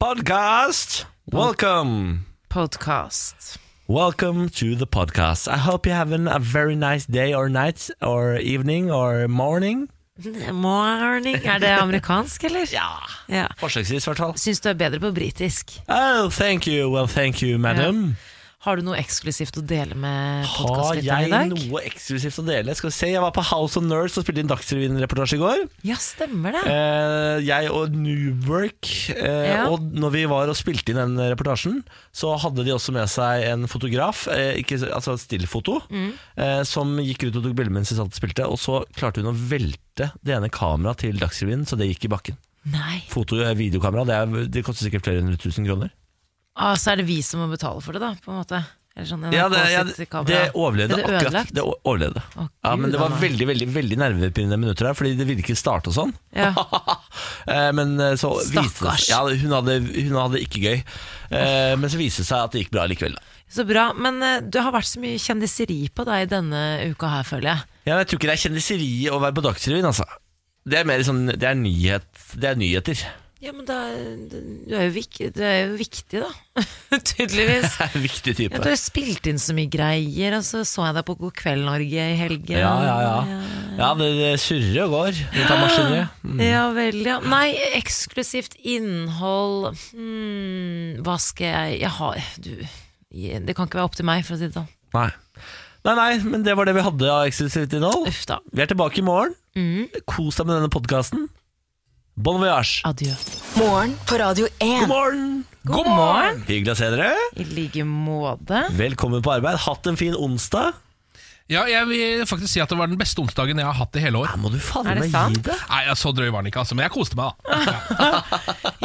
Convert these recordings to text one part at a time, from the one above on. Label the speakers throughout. Speaker 1: podcast. Welcome.
Speaker 2: Podcast.
Speaker 1: Welcome to the podcast. I hope you're having a very nice day or night or evening or morning.
Speaker 2: Morning. Er det amerikansk, eller?
Speaker 1: Ja.
Speaker 2: ja.
Speaker 1: Forsøksvis, i hvert fall.
Speaker 2: Syns du er bedre på britisk.
Speaker 1: Oh, thank you. Well, thank you, madam.
Speaker 2: Har du noe eksklusivt å dele med
Speaker 1: Har
Speaker 2: podkastlytterne
Speaker 1: jeg
Speaker 2: i dag?
Speaker 1: noe eksklusivt å dele? Skal vi se, Jeg var på House of Nerds og spilte inn Dagsrevyen-reportasje i går.
Speaker 2: Ja, stemmer det.
Speaker 1: Eh, jeg og Newwork eh,
Speaker 2: Ja.
Speaker 1: Og når vi var og spilte inn den reportasjen Så hadde de også med seg en fotograf eh, ikke, Altså et stillfoto
Speaker 2: Mm.
Speaker 1: eh, Som gikk ut og tok bilder mens de satt og spilte Og så klarte hun å velte det ene kameraet til Dagsrevyen Så det gikk i bakken
Speaker 2: Nei.
Speaker 1: Foto- og videokamera, det, er, det koster sikkert flere hundre tusen kroner
Speaker 2: Ah, så er det vi som må betale for det, da, på en måte. Eller sånn, NRK
Speaker 1: Ja, det, ja,
Speaker 2: sitt
Speaker 1: det
Speaker 2: kamera.
Speaker 1: overlevde
Speaker 2: Ble det
Speaker 1: akkurat
Speaker 2: ødelagt?
Speaker 1: Det o- overlevde
Speaker 2: Å,
Speaker 1: ja, Men
Speaker 2: Gud,
Speaker 1: det var
Speaker 2: Anna.
Speaker 1: veldig, veldig, veldig nervepirrende minutter der Fordi det ville ikke starte og sånn
Speaker 2: Ja.
Speaker 1: Eh, Men eh, så viste det seg-
Speaker 2: Stakkars.
Speaker 1: ja, hun, hadde, hun hadde ikke gøy Eh, Men så viste det seg at det gikk bra likevel da.
Speaker 2: Så bra. Men eh, du har vært så mye kjendiseri på deg denne uka her, føler jeg.
Speaker 1: ja, men Jeg tror ikke det er kjendiseri å være på Dagsrevyen altså. Det er mer sånn, det er, nyhet, det er nyheter
Speaker 2: Ja, men da, du, er jo vik, du er jo viktig, da. Tydeligvis.
Speaker 1: Det er en viktig
Speaker 2: Ja,
Speaker 1: type
Speaker 2: du har spilt inn så mye greier, og så så jeg deg på God kveld Norge i helgen.
Speaker 1: Ja, ja, ja Ja, det, det surrer og går Det tar maskineriet
Speaker 2: Ja vel, ja. Nei, eksklusivt innhold hmm, Hva skal jeg Jeg har Du, det kan ikke være opp til meg, for å si det sånn.
Speaker 1: Nei. nei, nei, men det var det vi hadde av eksklusivt innhold
Speaker 2: Uff da.
Speaker 1: Vi er tilbake i morgen.
Speaker 2: Mm.
Speaker 1: Kos deg med denne podkasten. Bon voyage.
Speaker 2: Adjø.
Speaker 3: Morgen på Radio 1.
Speaker 1: God morgen!
Speaker 2: God morgen!
Speaker 1: Hyggelig å se dere.
Speaker 2: I like måte.
Speaker 1: Velkommen på arbeid. Hatt en fin onsdag.
Speaker 4: Ja, jeg vil faktisk si at det var den beste onsdagen jeg har hatt i hele år.
Speaker 1: Ja, må du faen
Speaker 2: Er det
Speaker 1: meg
Speaker 2: sant?
Speaker 1: gi deg.
Speaker 4: Nei, ja, Så drøy var den ikke, altså, men jeg koste meg. da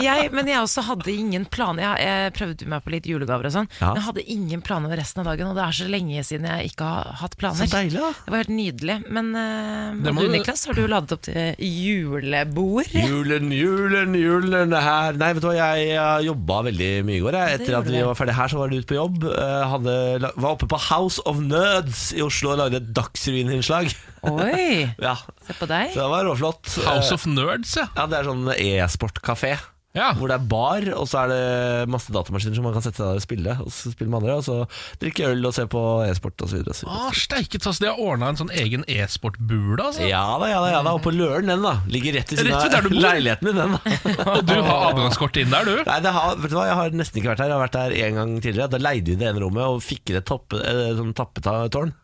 Speaker 2: Jeg, men jeg også hadde ingen planer. Jeg, jeg prøvde meg på litt julegaver og sånn.
Speaker 1: Ja.
Speaker 2: Men jeg hadde ingen planer resten av dagen, og det er så lenge siden jeg ikke har hatt planer.
Speaker 1: Så deilig, da.
Speaker 2: Det var helt nydelig. Men eh,
Speaker 4: Det må
Speaker 2: og du,
Speaker 4: du-
Speaker 2: Niklas, har du ladet opp til julebord?
Speaker 1: Julen, julen, julen er her Nei, vet du hva, jeg eh, jobba veldig mye i går. Jeg.
Speaker 2: Det
Speaker 1: Etter at
Speaker 2: gjorde
Speaker 1: vi
Speaker 2: du.
Speaker 1: var ferdig her, så var det ut på jobb. Eh, Hadde, la- var oppe på House of Nerds i Oslo og lagde et Dagsrevyen-innslag.
Speaker 2: Oi,
Speaker 1: Ja,
Speaker 2: se på deg.
Speaker 1: så det var råflott.
Speaker 4: House
Speaker 1: Eh,
Speaker 4: of Nerds, ja.
Speaker 1: Ja, det er sånn e-sport-kafé.
Speaker 4: ja.
Speaker 1: Hvor det er bar, og så er det masse datamaskiner som man kan sette seg der og spille. Og så spille med andre, og så drikke øl og se på e-sport osv.
Speaker 4: Ah, Steiket, altså, de har ordna en sånn egen e-sportbule. Altså.
Speaker 1: Ja da, ja da. ja da Og på Løren, den, da. Ligger rett ved siden
Speaker 4: Rett ved der
Speaker 1: av
Speaker 4: du bor?
Speaker 1: leiligheten min, den. da
Speaker 4: Og du har adgangskort inn der, du.
Speaker 1: Nei, det har, vet du hva, Jeg har nesten ikke vært her. Jeg har vært her én gang tidligere. Da leide vi det ene rommet og fikk det topp, eh, sånn tappetårn.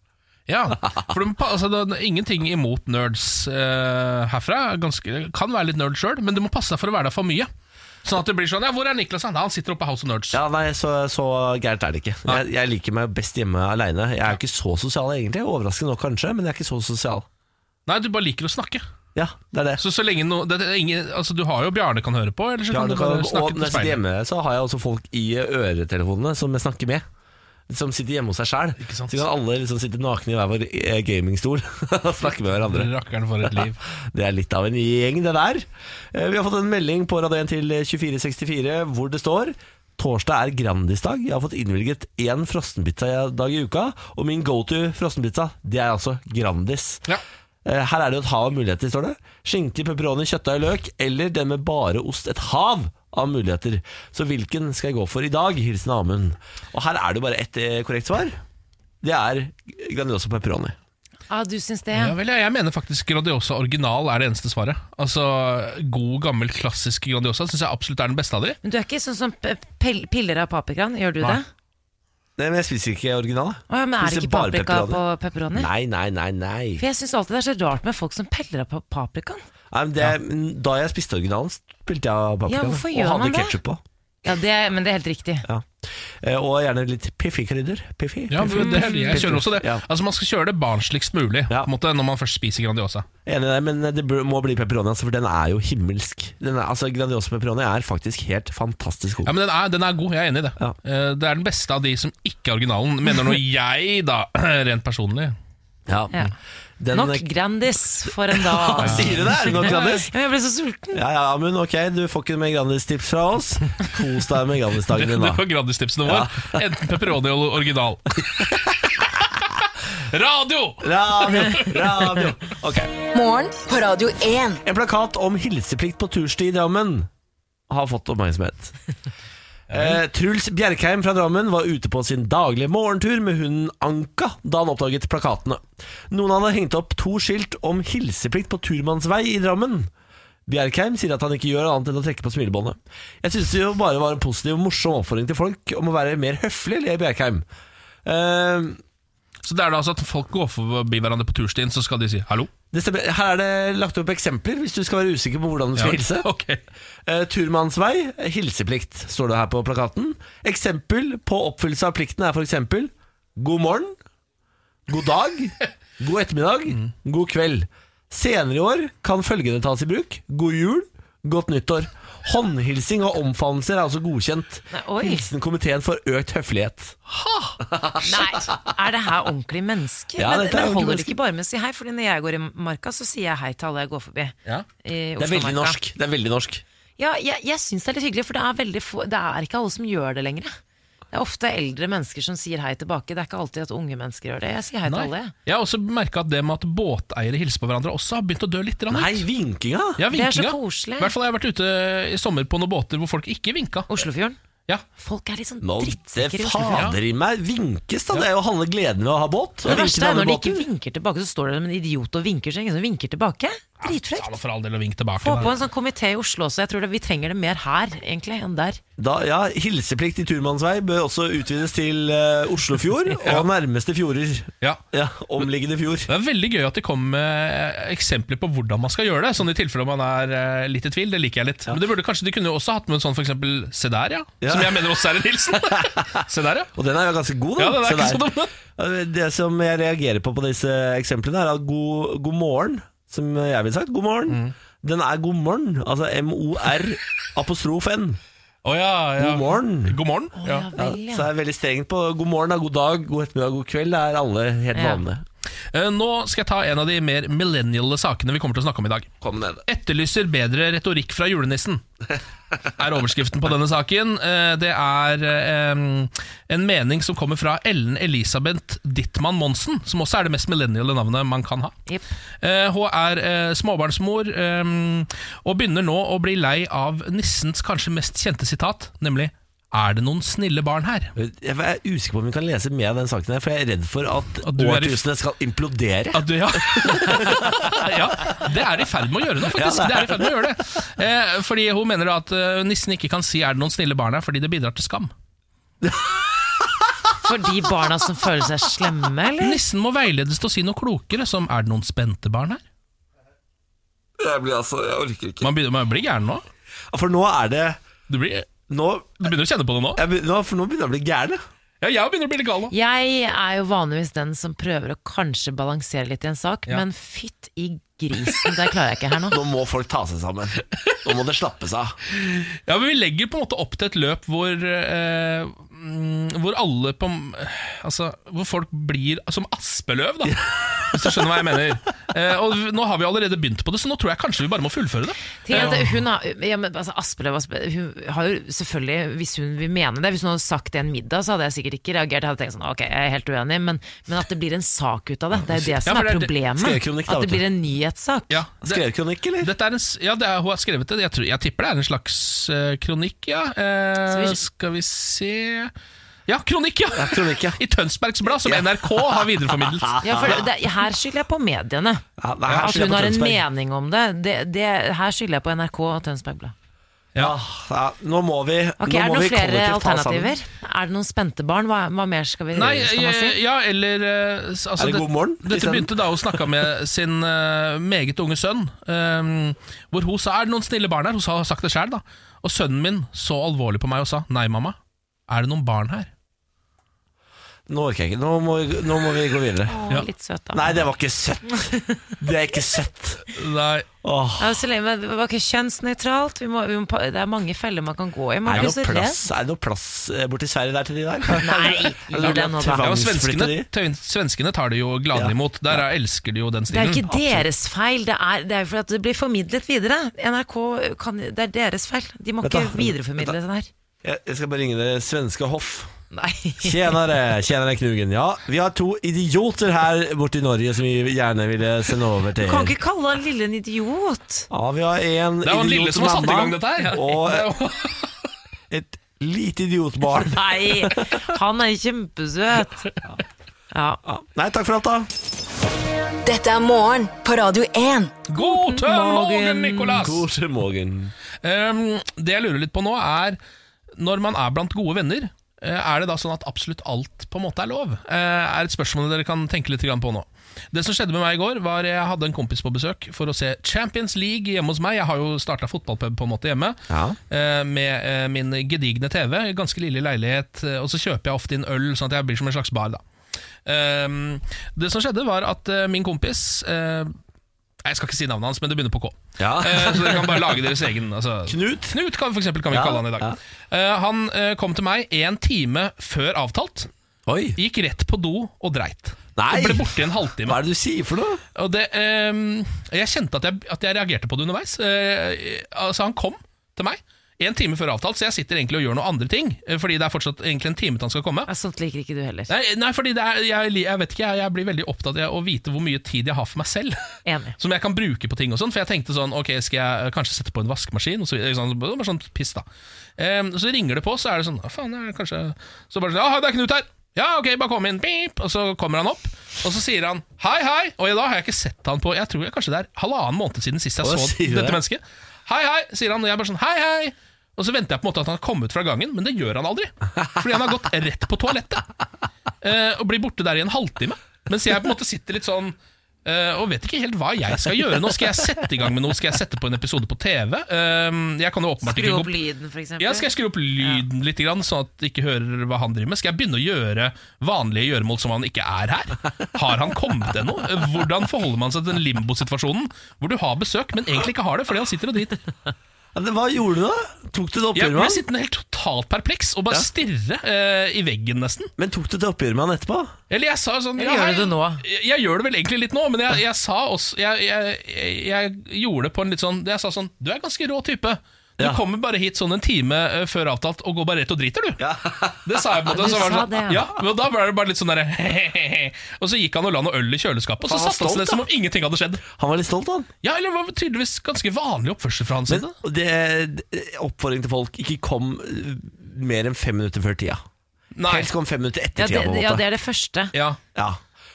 Speaker 4: Ja, for de, pa- altså, det er Ingenting imot nerds eh, herfra. Ganske, kan være litt nerd sjøl, men du må passe deg for å være der for mye. Sånn at det blir sånn Ja, hvor er Niklas? Nei, han sitter oppe på House of Nerds.
Speaker 1: Ja, nei, så, så gærent er det ikke. Jeg, jeg liker meg best hjemme aleine. Jeg er jo ikke så sosial egentlig. Overraskende nok kanskje, men jeg er ikke så sosial.
Speaker 4: Nei, du bare liker å snakke.
Speaker 1: Ja, det er det.
Speaker 4: Så så lenge no, det, er ingen, altså, Du har jo Bjarne kan høre på, eller så
Speaker 1: Ja,
Speaker 4: kan
Speaker 1: det
Speaker 4: du
Speaker 1: kan,
Speaker 4: bare
Speaker 1: og
Speaker 4: snakke
Speaker 1: når
Speaker 4: til
Speaker 1: jeg sitter
Speaker 4: speilet.
Speaker 1: hjemme, så har jeg også folk i øretelefonene som jeg snakker med. Som sitter hjemme hos seg sjæl.
Speaker 4: Ikke
Speaker 1: Så
Speaker 4: sant?
Speaker 1: kan alle liksom sitte nakne i hver vår eh, gamingstol og snakke med hverandre.
Speaker 4: Rakkeren for et liv.
Speaker 1: Det er litt av en gjeng, det der. Eh, Vi har fått en melding på Radio 1 til 2464 hvor det står Torsdag er Grandis-dag. Jeg har fått innvilget én frossenpizza-dag i uka. Og min go to frossenpizza, det er altså Grandis.
Speaker 4: Ja.
Speaker 1: Eh, Her er det jo et hav av muligheter, står det. Skinke, pepperoni, kjøttdeig, løk, eller den med bare ost. Et hav av muligheter. Så hvilken skal jeg gå for i dag? Hilsen Amund. Og her er det jo bare ett eh, korrekt svar. Det er Grandiosa pepperoni.
Speaker 2: Ah, du syns det?
Speaker 4: Ja, vel, ja, jeg mener faktisk Grandiosa original er det eneste svaret. Altså, God, gammel, klassisk Grandiosa syns jeg absolutt er den beste av de.
Speaker 2: Men du er ikke sånn som p- pel- piller av paprikaen, gjør du
Speaker 4: Nei.
Speaker 2: det?
Speaker 1: Nei, men jeg spiser ikke original. jeg.
Speaker 2: Å, ja, men er det
Speaker 1: Spiser
Speaker 2: ikke
Speaker 1: bare
Speaker 2: paprika
Speaker 1: pepperoni.
Speaker 2: på pepperoni?
Speaker 1: Nei, nei, nei, nei.
Speaker 2: For jeg syns alltid det er så rart med folk som peller av pa- paprikaen.
Speaker 1: nei men det, men Da jeg spiste originalen, spilte jeg paprika.
Speaker 2: Ja, hvorfor gjør
Speaker 1: og
Speaker 2: man
Speaker 1: hadde
Speaker 2: det?
Speaker 1: ketsjup på.
Speaker 2: Ja, det, Men det er helt riktig.
Speaker 1: Ja. Eh, Og gjerne litt piffi-krydder. Piffi.
Speaker 4: Ja,
Speaker 1: piffi,
Speaker 4: men det,
Speaker 1: piffi,
Speaker 4: jeg
Speaker 1: piffi.
Speaker 4: kjører også det.
Speaker 1: Mm. Ja.
Speaker 4: Altså, Man skal kjøre det barnsligst mulig
Speaker 1: Ja.
Speaker 4: på en måte, når man først spiser Grandiosa.
Speaker 1: Enig i deg, men det bør- må bli pepperoni, altså, for den er jo himmelsk. Den er, altså, Grandiosa pepperoni er faktisk helt fantastisk god.
Speaker 4: Ja, men Den er, den er god, jeg er enig i det.
Speaker 1: Ja.
Speaker 4: Eh, Det er den beste av de som ikke er originalen, mener nå jeg, da, rent personlig.
Speaker 1: Ja.
Speaker 2: Ja.
Speaker 1: Den, eh, Ah,
Speaker 2: Nok Grandis for en dag.
Speaker 1: Sier du det? Er det nok Grandis?
Speaker 2: Ja, men jeg ble så sulten.
Speaker 1: Ja, ja, men ok, du får ikke mer Grandis-tips fra oss. Kos deg med
Speaker 4: Det,
Speaker 1: Grandis-dagen
Speaker 4: det
Speaker 1: din, da.
Speaker 4: var Grandis-tipsene våre. Enten pepperoni eller original. Radio!
Speaker 1: Radio, radio. Ok.
Speaker 3: Morgen på Radio 1.
Speaker 1: En plakat om hilseplikt på tursti i Drammen har fått oppmerksomhet. Eh, Truls Bjerkheim fra Drammen var ute på sin daglige morgentur med hunden Anka da han oppdaget plakatene. Noen hadde hengt opp to skilt om hilseplikt på turmannsvei i Drammen. Bjerkheim sier at han ikke gjør annet enn å trekke på smilebåndet. Jeg synes det jo bare var en positiv og morsom oppfordring til folk om å være mer høflig, ler Bjerkheim. Eh,
Speaker 4: Så det er da altså at folk går forbi hverandre på turstien, så skal de si hallo?
Speaker 1: det stemmer. Her er det lagt opp eksempler hvis du skal være usikker på hvordan du skal hilse.
Speaker 4: Ok.
Speaker 1: Eh, Turmannsvei, hilseplikt, står det her på plakaten. Eksempel på oppfyllelse av plikten er f.eks.: God morgen, god dag, god ettermiddag,
Speaker 2: Mm.
Speaker 1: god kveld. Senere i år kan følgende tas i bruk. God jul, godt nyttår. Håndhilsing og omfavnelser er også godkjent.
Speaker 2: Nei, oi.
Speaker 1: Hilsen komiteen for økt høflighet.
Speaker 2: Nei, er det her ordentlige mennesker?
Speaker 1: Ja,
Speaker 2: men
Speaker 1: dette er
Speaker 2: det holder
Speaker 1: ordentlige
Speaker 2: ikke bare med å si hei, Fordi når jeg går i marka, så sier jeg hei til alle jeg går forbi.
Speaker 4: Ja.
Speaker 2: I
Speaker 1: Det er veldig
Speaker 2: Oslomarka.
Speaker 1: norsk. Det er veldig norsk.
Speaker 2: Ja, jeg, jeg syns det er litt hyggelig, for det er, veldig få, det er ikke alle som gjør det lenger. Det er ofte eldre mennesker som sier hei tilbake. Det er ikke alltid at unge mennesker gjør det. Jeg sier hei til
Speaker 4: Nei.
Speaker 2: alle. jeg.
Speaker 4: Jeg har også merka at det med at båteiere hilser på hverandre, også har begynt å dø litt. grann
Speaker 1: Nei,
Speaker 4: ut.
Speaker 1: vinkinga!
Speaker 4: Ja,
Speaker 2: Det er så
Speaker 4: vinkinga.
Speaker 2: koselig.
Speaker 4: I hvert fall har jeg vært ute i sommer på noen båter hvor folk ikke vinka.
Speaker 2: Oslofjorden.
Speaker 4: Ja.
Speaker 2: Folk er litt sånn
Speaker 1: Nå, det
Speaker 2: drittsekker i Oslofjorden.
Speaker 1: fader i meg vinkes, da! Det er jo halve gleden ved å ha båt. å
Speaker 2: Det
Speaker 1: vinke til
Speaker 2: verste er
Speaker 1: andre
Speaker 2: når de ikke
Speaker 1: båter.
Speaker 2: vinker tilbake, så står det en idiot og vinker, så ingen som vinker tilbake.
Speaker 4: Ja,
Speaker 2: Dritfrekt.
Speaker 4: for all del å vinke tilbake.
Speaker 2: Få
Speaker 4: da.
Speaker 2: på en sånn komité i Oslo også. Jeg tror det, vi trenger det mer her egentlig enn der.
Speaker 1: Da, ja, Hilseplikt i turmannsvei bør også utvides til eh, Oslofjord og nærmeste fjorder.
Speaker 4: Ja.
Speaker 1: Ja, Omliggende fjord.
Speaker 4: Det er veldig gøy at de kommer med eksempler på hvordan man skal gjøre det. Sånn i tilfelle man er eh, litt i tvil. Det liker jeg litt. Men det burde kanskje, de kunne jo også hatt med en sånn for eksempel Se der, ja.
Speaker 1: Ja.
Speaker 4: Som jeg mener også er en hilsen. Se der, ja.
Speaker 1: Og den er jo ganske god, da.
Speaker 4: Ja, den er
Speaker 1: Se
Speaker 4: ikke
Speaker 1: der.
Speaker 4: så dum, da.
Speaker 1: Ja, Det som jeg reagerer på på disse eksemplene, er at god, god morgen, som jeg ville sagt, god morgen,
Speaker 4: Mm.
Speaker 1: den er god morgen. Altså M-O-R apostrof N.
Speaker 4: Å, ja, ja.
Speaker 1: God morgen.
Speaker 4: God morgen. Ja.
Speaker 2: Ja
Speaker 1: Ja,
Speaker 2: vel,
Speaker 1: så
Speaker 2: ja.
Speaker 1: er jeg veldig strengt på god morgen, da, god dag, god ettermiddag, god kveld. Det er alle helt
Speaker 2: Ja.
Speaker 1: vanlige.
Speaker 4: Eh, Nå skal jeg ta en av de mer millenniale sakene vi kommer til å snakke om i dag.
Speaker 1: Kom ned.
Speaker 4: Etterlyser bedre retorikk fra julenissen, er overskriften på denne saken. Eh, Det er eh, en mening som kommer fra Ellen Elisabeth Dittmann Monsen, som også er det mest millenniale navnet man kan ha.
Speaker 2: Jepp.
Speaker 4: Eh, Hun er eh, småbarnsmor eh, og begynner nå å bli lei av nissens kanskje mest kjente sitat, nemlig Er det noen snille barn her?
Speaker 1: Jeg er usikker på om vi kan lese mer av den saken, her for jeg er redd for at,
Speaker 4: At du er i-
Speaker 1: årtusenet skal implodere.
Speaker 4: At du, ja. ja, det er de i ferd med å gjøre nå, faktisk.
Speaker 1: Ja, det
Speaker 4: det er de i ferd med å gjøre det. Eh, fordi hun mener da at eh, nissen ikke kan si 'er det noen snille barn her', fordi det bidrar til skam.
Speaker 2: For de barna som føler seg slemme, eller?
Speaker 4: Nissen må veiledes til å si noe klokere, som 'er det noen spente barn her'?
Speaker 1: Jeg blir altså, jeg orker ikke.
Speaker 4: Man, begynner, man blir gæren nå.
Speaker 1: For nå er det
Speaker 4: Du, blir,
Speaker 1: Nå,
Speaker 4: du begynner å kjenne på det nå?
Speaker 1: jeg, be- nå, for nå begynner jeg å bli gæren. jeg.
Speaker 4: Ja, jeg begynner å bli litt gal nå.
Speaker 2: Jeg er jo vanligvis den som prøver å kanskje balansere litt i en sak, men fytt i grisen, det klarer jeg ikke her nå.
Speaker 1: Nå må folk ta seg sammen. Nå må det slappes av.
Speaker 4: Ja, men Vi legger på en måte opp til et løp hvor eh, mm, Hvor alle på Altså, hvor folk blir som aspeløv, da. Hvis du skjønner hva jeg mener. Eh, og Nå har vi allerede begynt på det, så nå tror jeg kanskje vi bare må fullføre det. Eh,
Speaker 2: Ting er at hun har, ja, men, altså, Aspeløv Aspe- hun har jo selvfølgelig, hvis hun vil mene det Hvis hun hadde sagt det en middag, så hadde jeg sikkert ikke reagert. Jeg hadde tenkt sånn, ok, jeg er helt uenig Men, men at det blir en sak ut av det, det er jo det som
Speaker 4: for
Speaker 2: er
Speaker 4: det er det-
Speaker 2: problemet.
Speaker 1: Skrekkronikk, da,
Speaker 2: at det
Speaker 1: vet du.
Speaker 2: blir en nyhetssak.
Speaker 4: Ja, det,
Speaker 1: Skrevkronikk, eller?
Speaker 4: dette er en, s- ja det er, hun har skrevet det. Jeg, tror, jeg tipper det er en slags eh, kronikk, ja. Eh,
Speaker 2: Skal vi-
Speaker 4: skal vi se Ja, kronikk, ja!
Speaker 1: Ja, kronikk, ja.
Speaker 4: I Tønsbergs Blad, som NRK har videreformidlet.
Speaker 2: Ja, for det, det, her skylder jeg på mediene.
Speaker 1: Ja, nei, her
Speaker 2: at
Speaker 1: skylder jeg
Speaker 2: hun
Speaker 1: på
Speaker 2: har en
Speaker 1: Tønsberg.
Speaker 2: mening om det. det, det her skylder jeg på NRK og Tønsberg Blad.
Speaker 1: Ja, ja, nå må vi nå
Speaker 2: Ok, Er
Speaker 1: må
Speaker 2: det
Speaker 1: vi
Speaker 2: noen flere
Speaker 1: kollektivt ta oss sammen.
Speaker 2: alternativer? Er det noen spente barn? Hva, hva mer skal, vi,
Speaker 4: Nei,
Speaker 2: skal man si?
Speaker 4: eh, ja, eller eh, s- altså,
Speaker 1: Er det god morgen? liksom?
Speaker 4: Dette
Speaker 1: Isteden?
Speaker 4: begynte da hun snakka med sin eh, meget unge sønn. eh, hvor hun sa 'er det noen snille barn her?' Hun sa, har sagt det sjøl, da. Og sønnen min så alvorlig på meg og sa 'nei, mamma, er det noen barn her?'
Speaker 1: Nå orker jeg ikke. Nå må, vi- nå må vi gå videre.
Speaker 2: Å,
Speaker 4: Ja.
Speaker 2: Litt søt, da.
Speaker 1: Nei, det var ikke søtt. Det er ikke søtt.
Speaker 4: Nei,
Speaker 1: Åh.
Speaker 2: Ja, så lenge, men det var ikke kjønnsnøytralt. Vi må, vi må, pa- det er mange feller man kan gå i. Man
Speaker 1: Er det
Speaker 2: blir
Speaker 1: noe
Speaker 2: så
Speaker 1: plass,
Speaker 2: redd.
Speaker 1: er det noe plass eh, borti Sverige der til de der?
Speaker 2: Nei, gi deg nå, da.
Speaker 4: ja, og
Speaker 1: Tvangsflytter de?
Speaker 4: svenskene, tø- svenskene tar det jo gladelig
Speaker 1: Ja.
Speaker 4: imot. Der er- elsker de jo den
Speaker 2: Det er
Speaker 4: stilen.
Speaker 2: ikke deres feil, det er, det er jo fordi at det blir formidlet videre. NRK kan, Det er deres feil. De må
Speaker 1: Vent da,
Speaker 2: ikke videreformidle
Speaker 1: vent
Speaker 2: det der.
Speaker 1: Jeg jeg skal bare ringe det svenske hoff.
Speaker 2: Nei.
Speaker 1: Tjenere, tjenere Knugen. Ja, vi har to idioter her borte i Norge som vi gjerne ville sende over til
Speaker 2: Du kan ikke kalle han lille en idiot.
Speaker 1: Ja, vi har en
Speaker 4: Det er han lille som har satt i gang
Speaker 1: idiotmamma
Speaker 4: dette her.
Speaker 1: Og et lite idiotbarn.
Speaker 2: Nei, han er kjempesøt. Ja.
Speaker 1: Ja. Nei, takk for alt, da.
Speaker 3: Dette er morgen på Radio 1.
Speaker 4: God morgen,
Speaker 2: morgen,
Speaker 4: Nicolas!
Speaker 1: God morgen.
Speaker 4: Um, det jeg lurer litt på nå, er når man er blant gode venner, eh, er det da sånn at absolutt alt på en måte er lov? Eh, er et spørsmål dere kan tenke litt grann på nå. Det som skjedde med meg i går, var jeg hadde en kompis på besøk for å se Champions League hjemme hos meg. Jeg har jo starta fotballpub på en måte hjemme,
Speaker 1: Ja.
Speaker 4: eh, med eh, min gedigne TV, ganske lille leilighet, eh, og så kjøper jeg ofte inn øl, sånn at jeg blir som en slags bar, da. Um, det som skjedde, var at eh, min kompis eh, Jeg skal ikke si navnet hans, men det begynner på K.
Speaker 1: Ja.
Speaker 4: Eh, så dere kan bare lage deres egen. Altså.
Speaker 1: Knut?
Speaker 4: Knut kan, for eksempel, kan vi
Speaker 1: Ja,
Speaker 4: kalle han i dag.
Speaker 1: ja.
Speaker 4: Eh, han eh, kom til meg en time før avtalt.
Speaker 1: Oi,
Speaker 4: Gikk rett på do og dreit.
Speaker 1: Nei.
Speaker 4: Og ble borte i en halvtime.
Speaker 1: hva er det du sier for noe?
Speaker 4: Og det, ehm, jeg kjente at jeg, at jeg reagerte på det underveis. Eh, altså Han kom til meg en time før avtalt, så jeg sitter egentlig og gjør noen andre ting. eh, Fordi det er fortsatt egentlig en time til han skal komme.
Speaker 2: Ja, sånt liker ikke du heller.
Speaker 4: Nei, nei fordi det er, jeg, jeg vet ikke, jeg, jeg blir veldig opptatt av å vite hvor mye tid jeg har for meg selv.
Speaker 2: Enig.
Speaker 4: Som jeg kan bruke på ting og sånn. For jeg tenkte sånn, ok, skal jeg eh, kanskje sette på en vaskemaskin? Og så, videre, ikke sant? bare sånn piss, da. Em, så ringer det på, så er det sånn, «Å, faen, jeg, kanskje Så bare sånn, ja, hei, det er Knut her! Ja, ok, bare kom inn, pip! Og så kommer han opp, og så sier han hei, hei! Og i dag har jeg ikke sett han på Jeg tror jeg kanskje det er halvannen måned siden sist jeg
Speaker 1: Hva
Speaker 4: så
Speaker 1: sier du
Speaker 4: dette
Speaker 1: det?
Speaker 4: mennesket. Hei, hei, sier han, og jeg bare sånn, hei, hei! Og så venter jeg på en måte at han har kommet fra gangen, men det gjør han aldri. Fordi han har gått rett på toalettet. Eh, og blir borte der i en halvtime. Mens jeg på en måte sitter litt sånn eh, og vet ikke helt hva jeg skal gjøre nå. Skal jeg sette i gang med noe? Skal jeg sette på en episode på TV? Eh, jeg kan jo åpenbart
Speaker 2: Skru
Speaker 4: ikke
Speaker 2: opp
Speaker 4: gå
Speaker 2: lyden, for eksempel.
Speaker 4: ja, Skal jeg skru opp lyden litt, grann, sånn at jeg ikke hører hva han driver med? Skal jeg begynne å gjøre vanlige gjøremål som han ikke er her? Har han kommet ennå? Eh, Hvordan forholder man seg til den limbosituasjonen hvor du har besøk, men egentlig ikke har det fordi han sitter og driter?
Speaker 1: Ja, det- Hva gjorde du da? Tok du det
Speaker 4: Jeg
Speaker 1: oppgjøret med
Speaker 4: ble
Speaker 1: han?
Speaker 4: sittende helt totalt perpleks og
Speaker 1: Ja.
Speaker 4: bare stirre eh, i veggen, nesten.
Speaker 1: Men tok du det oppgjøret med han etterpå?
Speaker 4: Eller jeg sa sånn
Speaker 2: Eller
Speaker 4: ja,
Speaker 2: gjør du
Speaker 4: hei.
Speaker 2: det nå?
Speaker 4: Jeg, jeg gjør det vel egentlig litt nå, men jeg, jeg sa også jeg, jeg, jeg, jeg gjorde det på en litt sånn Jeg sa sånn Du er ganske rå type. Du
Speaker 1: Ja.
Speaker 4: kommer bare hit sånn en time eh, før avtalt og går bare rett og driter, du. Det sa jeg på en måte.
Speaker 2: Du
Speaker 4: så var det
Speaker 2: sa
Speaker 4: sånn,
Speaker 2: det,
Speaker 4: ja.
Speaker 2: ja.
Speaker 4: men Da ble det bare litt sånn derre Og så gikk han og la noe øl i kjøleskapet, og så
Speaker 1: Faen, han
Speaker 4: satte han
Speaker 1: stolt,
Speaker 4: seg ned som om ingenting hadde skjedd.
Speaker 1: Han var litt stolt, han.
Speaker 4: Ja, eller det var tydeligvis ganske vanlig oppførsel fra hans
Speaker 1: Men
Speaker 4: side.
Speaker 1: det, det, oppfordring til folk, ikke kom eh, mer enn fem minutter før tida.
Speaker 4: Nei.
Speaker 1: Helst kom fem minutter etter
Speaker 2: Ja, det,
Speaker 1: tida, på en måte.
Speaker 2: ja, det er det første.
Speaker 4: Ja.
Speaker 1: Ja.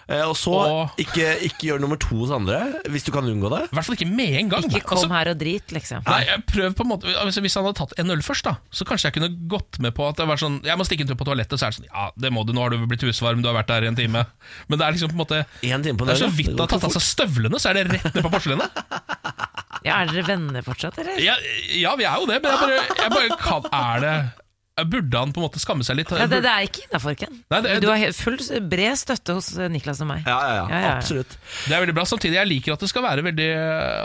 Speaker 1: Eh, Og så
Speaker 4: Og-
Speaker 1: ikke, ikke gjør nummer to hos andre, hvis du kan unngå det.
Speaker 4: I hvert fall ikke med en gang.
Speaker 2: Ikke kom
Speaker 4: Altså,
Speaker 2: her og drit, liksom.
Speaker 4: Nei, jeg prøver på en måte altså, Hvis han hadde tatt en øl først, da så kanskje jeg kunne gått med på at det var sånn Jeg må stikke en tur på toalettet, så er det sånn Ja, det må du, nå har du blitt husvarm, du har vært der i en time. Men det er liksom på en måte Det
Speaker 1: En time på
Speaker 4: er så
Speaker 1: døgnet,
Speaker 4: vidt han
Speaker 1: går
Speaker 4: har tatt
Speaker 1: ikke
Speaker 4: av seg
Speaker 1: fort.
Speaker 4: støvlene, så er det rett ned på porselenet.
Speaker 2: Ja, er dere venner fortsatt, eller?
Speaker 4: Ja, ja, vi er jo det, men jeg bare, jeg bare kan, Er det Burde han på en måte skamme seg litt?
Speaker 2: Ja, det, det er ikke innafor, Ken.
Speaker 4: Nei, det-
Speaker 2: Du har he- full s- bred støtte hos eh, Niklas og meg.
Speaker 1: Ja, ja, ja,
Speaker 2: Ja, ja, ja.
Speaker 1: absolutt.
Speaker 4: Det er veldig bra. Samtidig jeg liker at det skal være veldig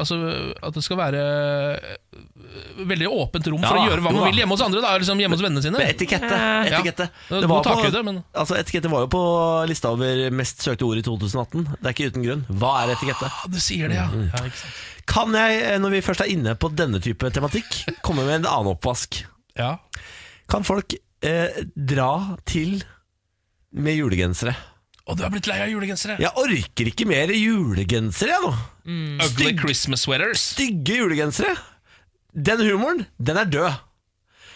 Speaker 4: Altså At det skal være øh, veldig åpent rom for
Speaker 1: Ja,
Speaker 4: å gjøre hva
Speaker 1: jo
Speaker 4: man
Speaker 1: da.
Speaker 4: vil hjemme hos andre. Da, liksom hjemme hos vennene sine.
Speaker 1: Med etikette.
Speaker 4: Ja.
Speaker 1: etikette.
Speaker 4: Det var
Speaker 1: Det var
Speaker 4: god
Speaker 1: på,
Speaker 4: takhøyde, men-
Speaker 1: altså, etikette var jo på lista over mest søkte ord i 2018. Det er ikke uten grunn. Hva er etikette?
Speaker 4: Ja, du sier det, ja.
Speaker 1: Mm.
Speaker 4: ja ikke sant?
Speaker 1: Kan jeg, eh, når vi først er inne på denne type tematikk, komme med en annen oppvask?
Speaker 4: Ja.
Speaker 1: Kan folk eh, dra til med julegensere?
Speaker 4: Og du er blitt lei av julegensere?
Speaker 1: Jeg orker ikke mer julegensere, jeg nå.
Speaker 4: Ugly
Speaker 1: Stygg.
Speaker 4: Christmas sweaters.
Speaker 1: stygge julegensere Den humoren, den er død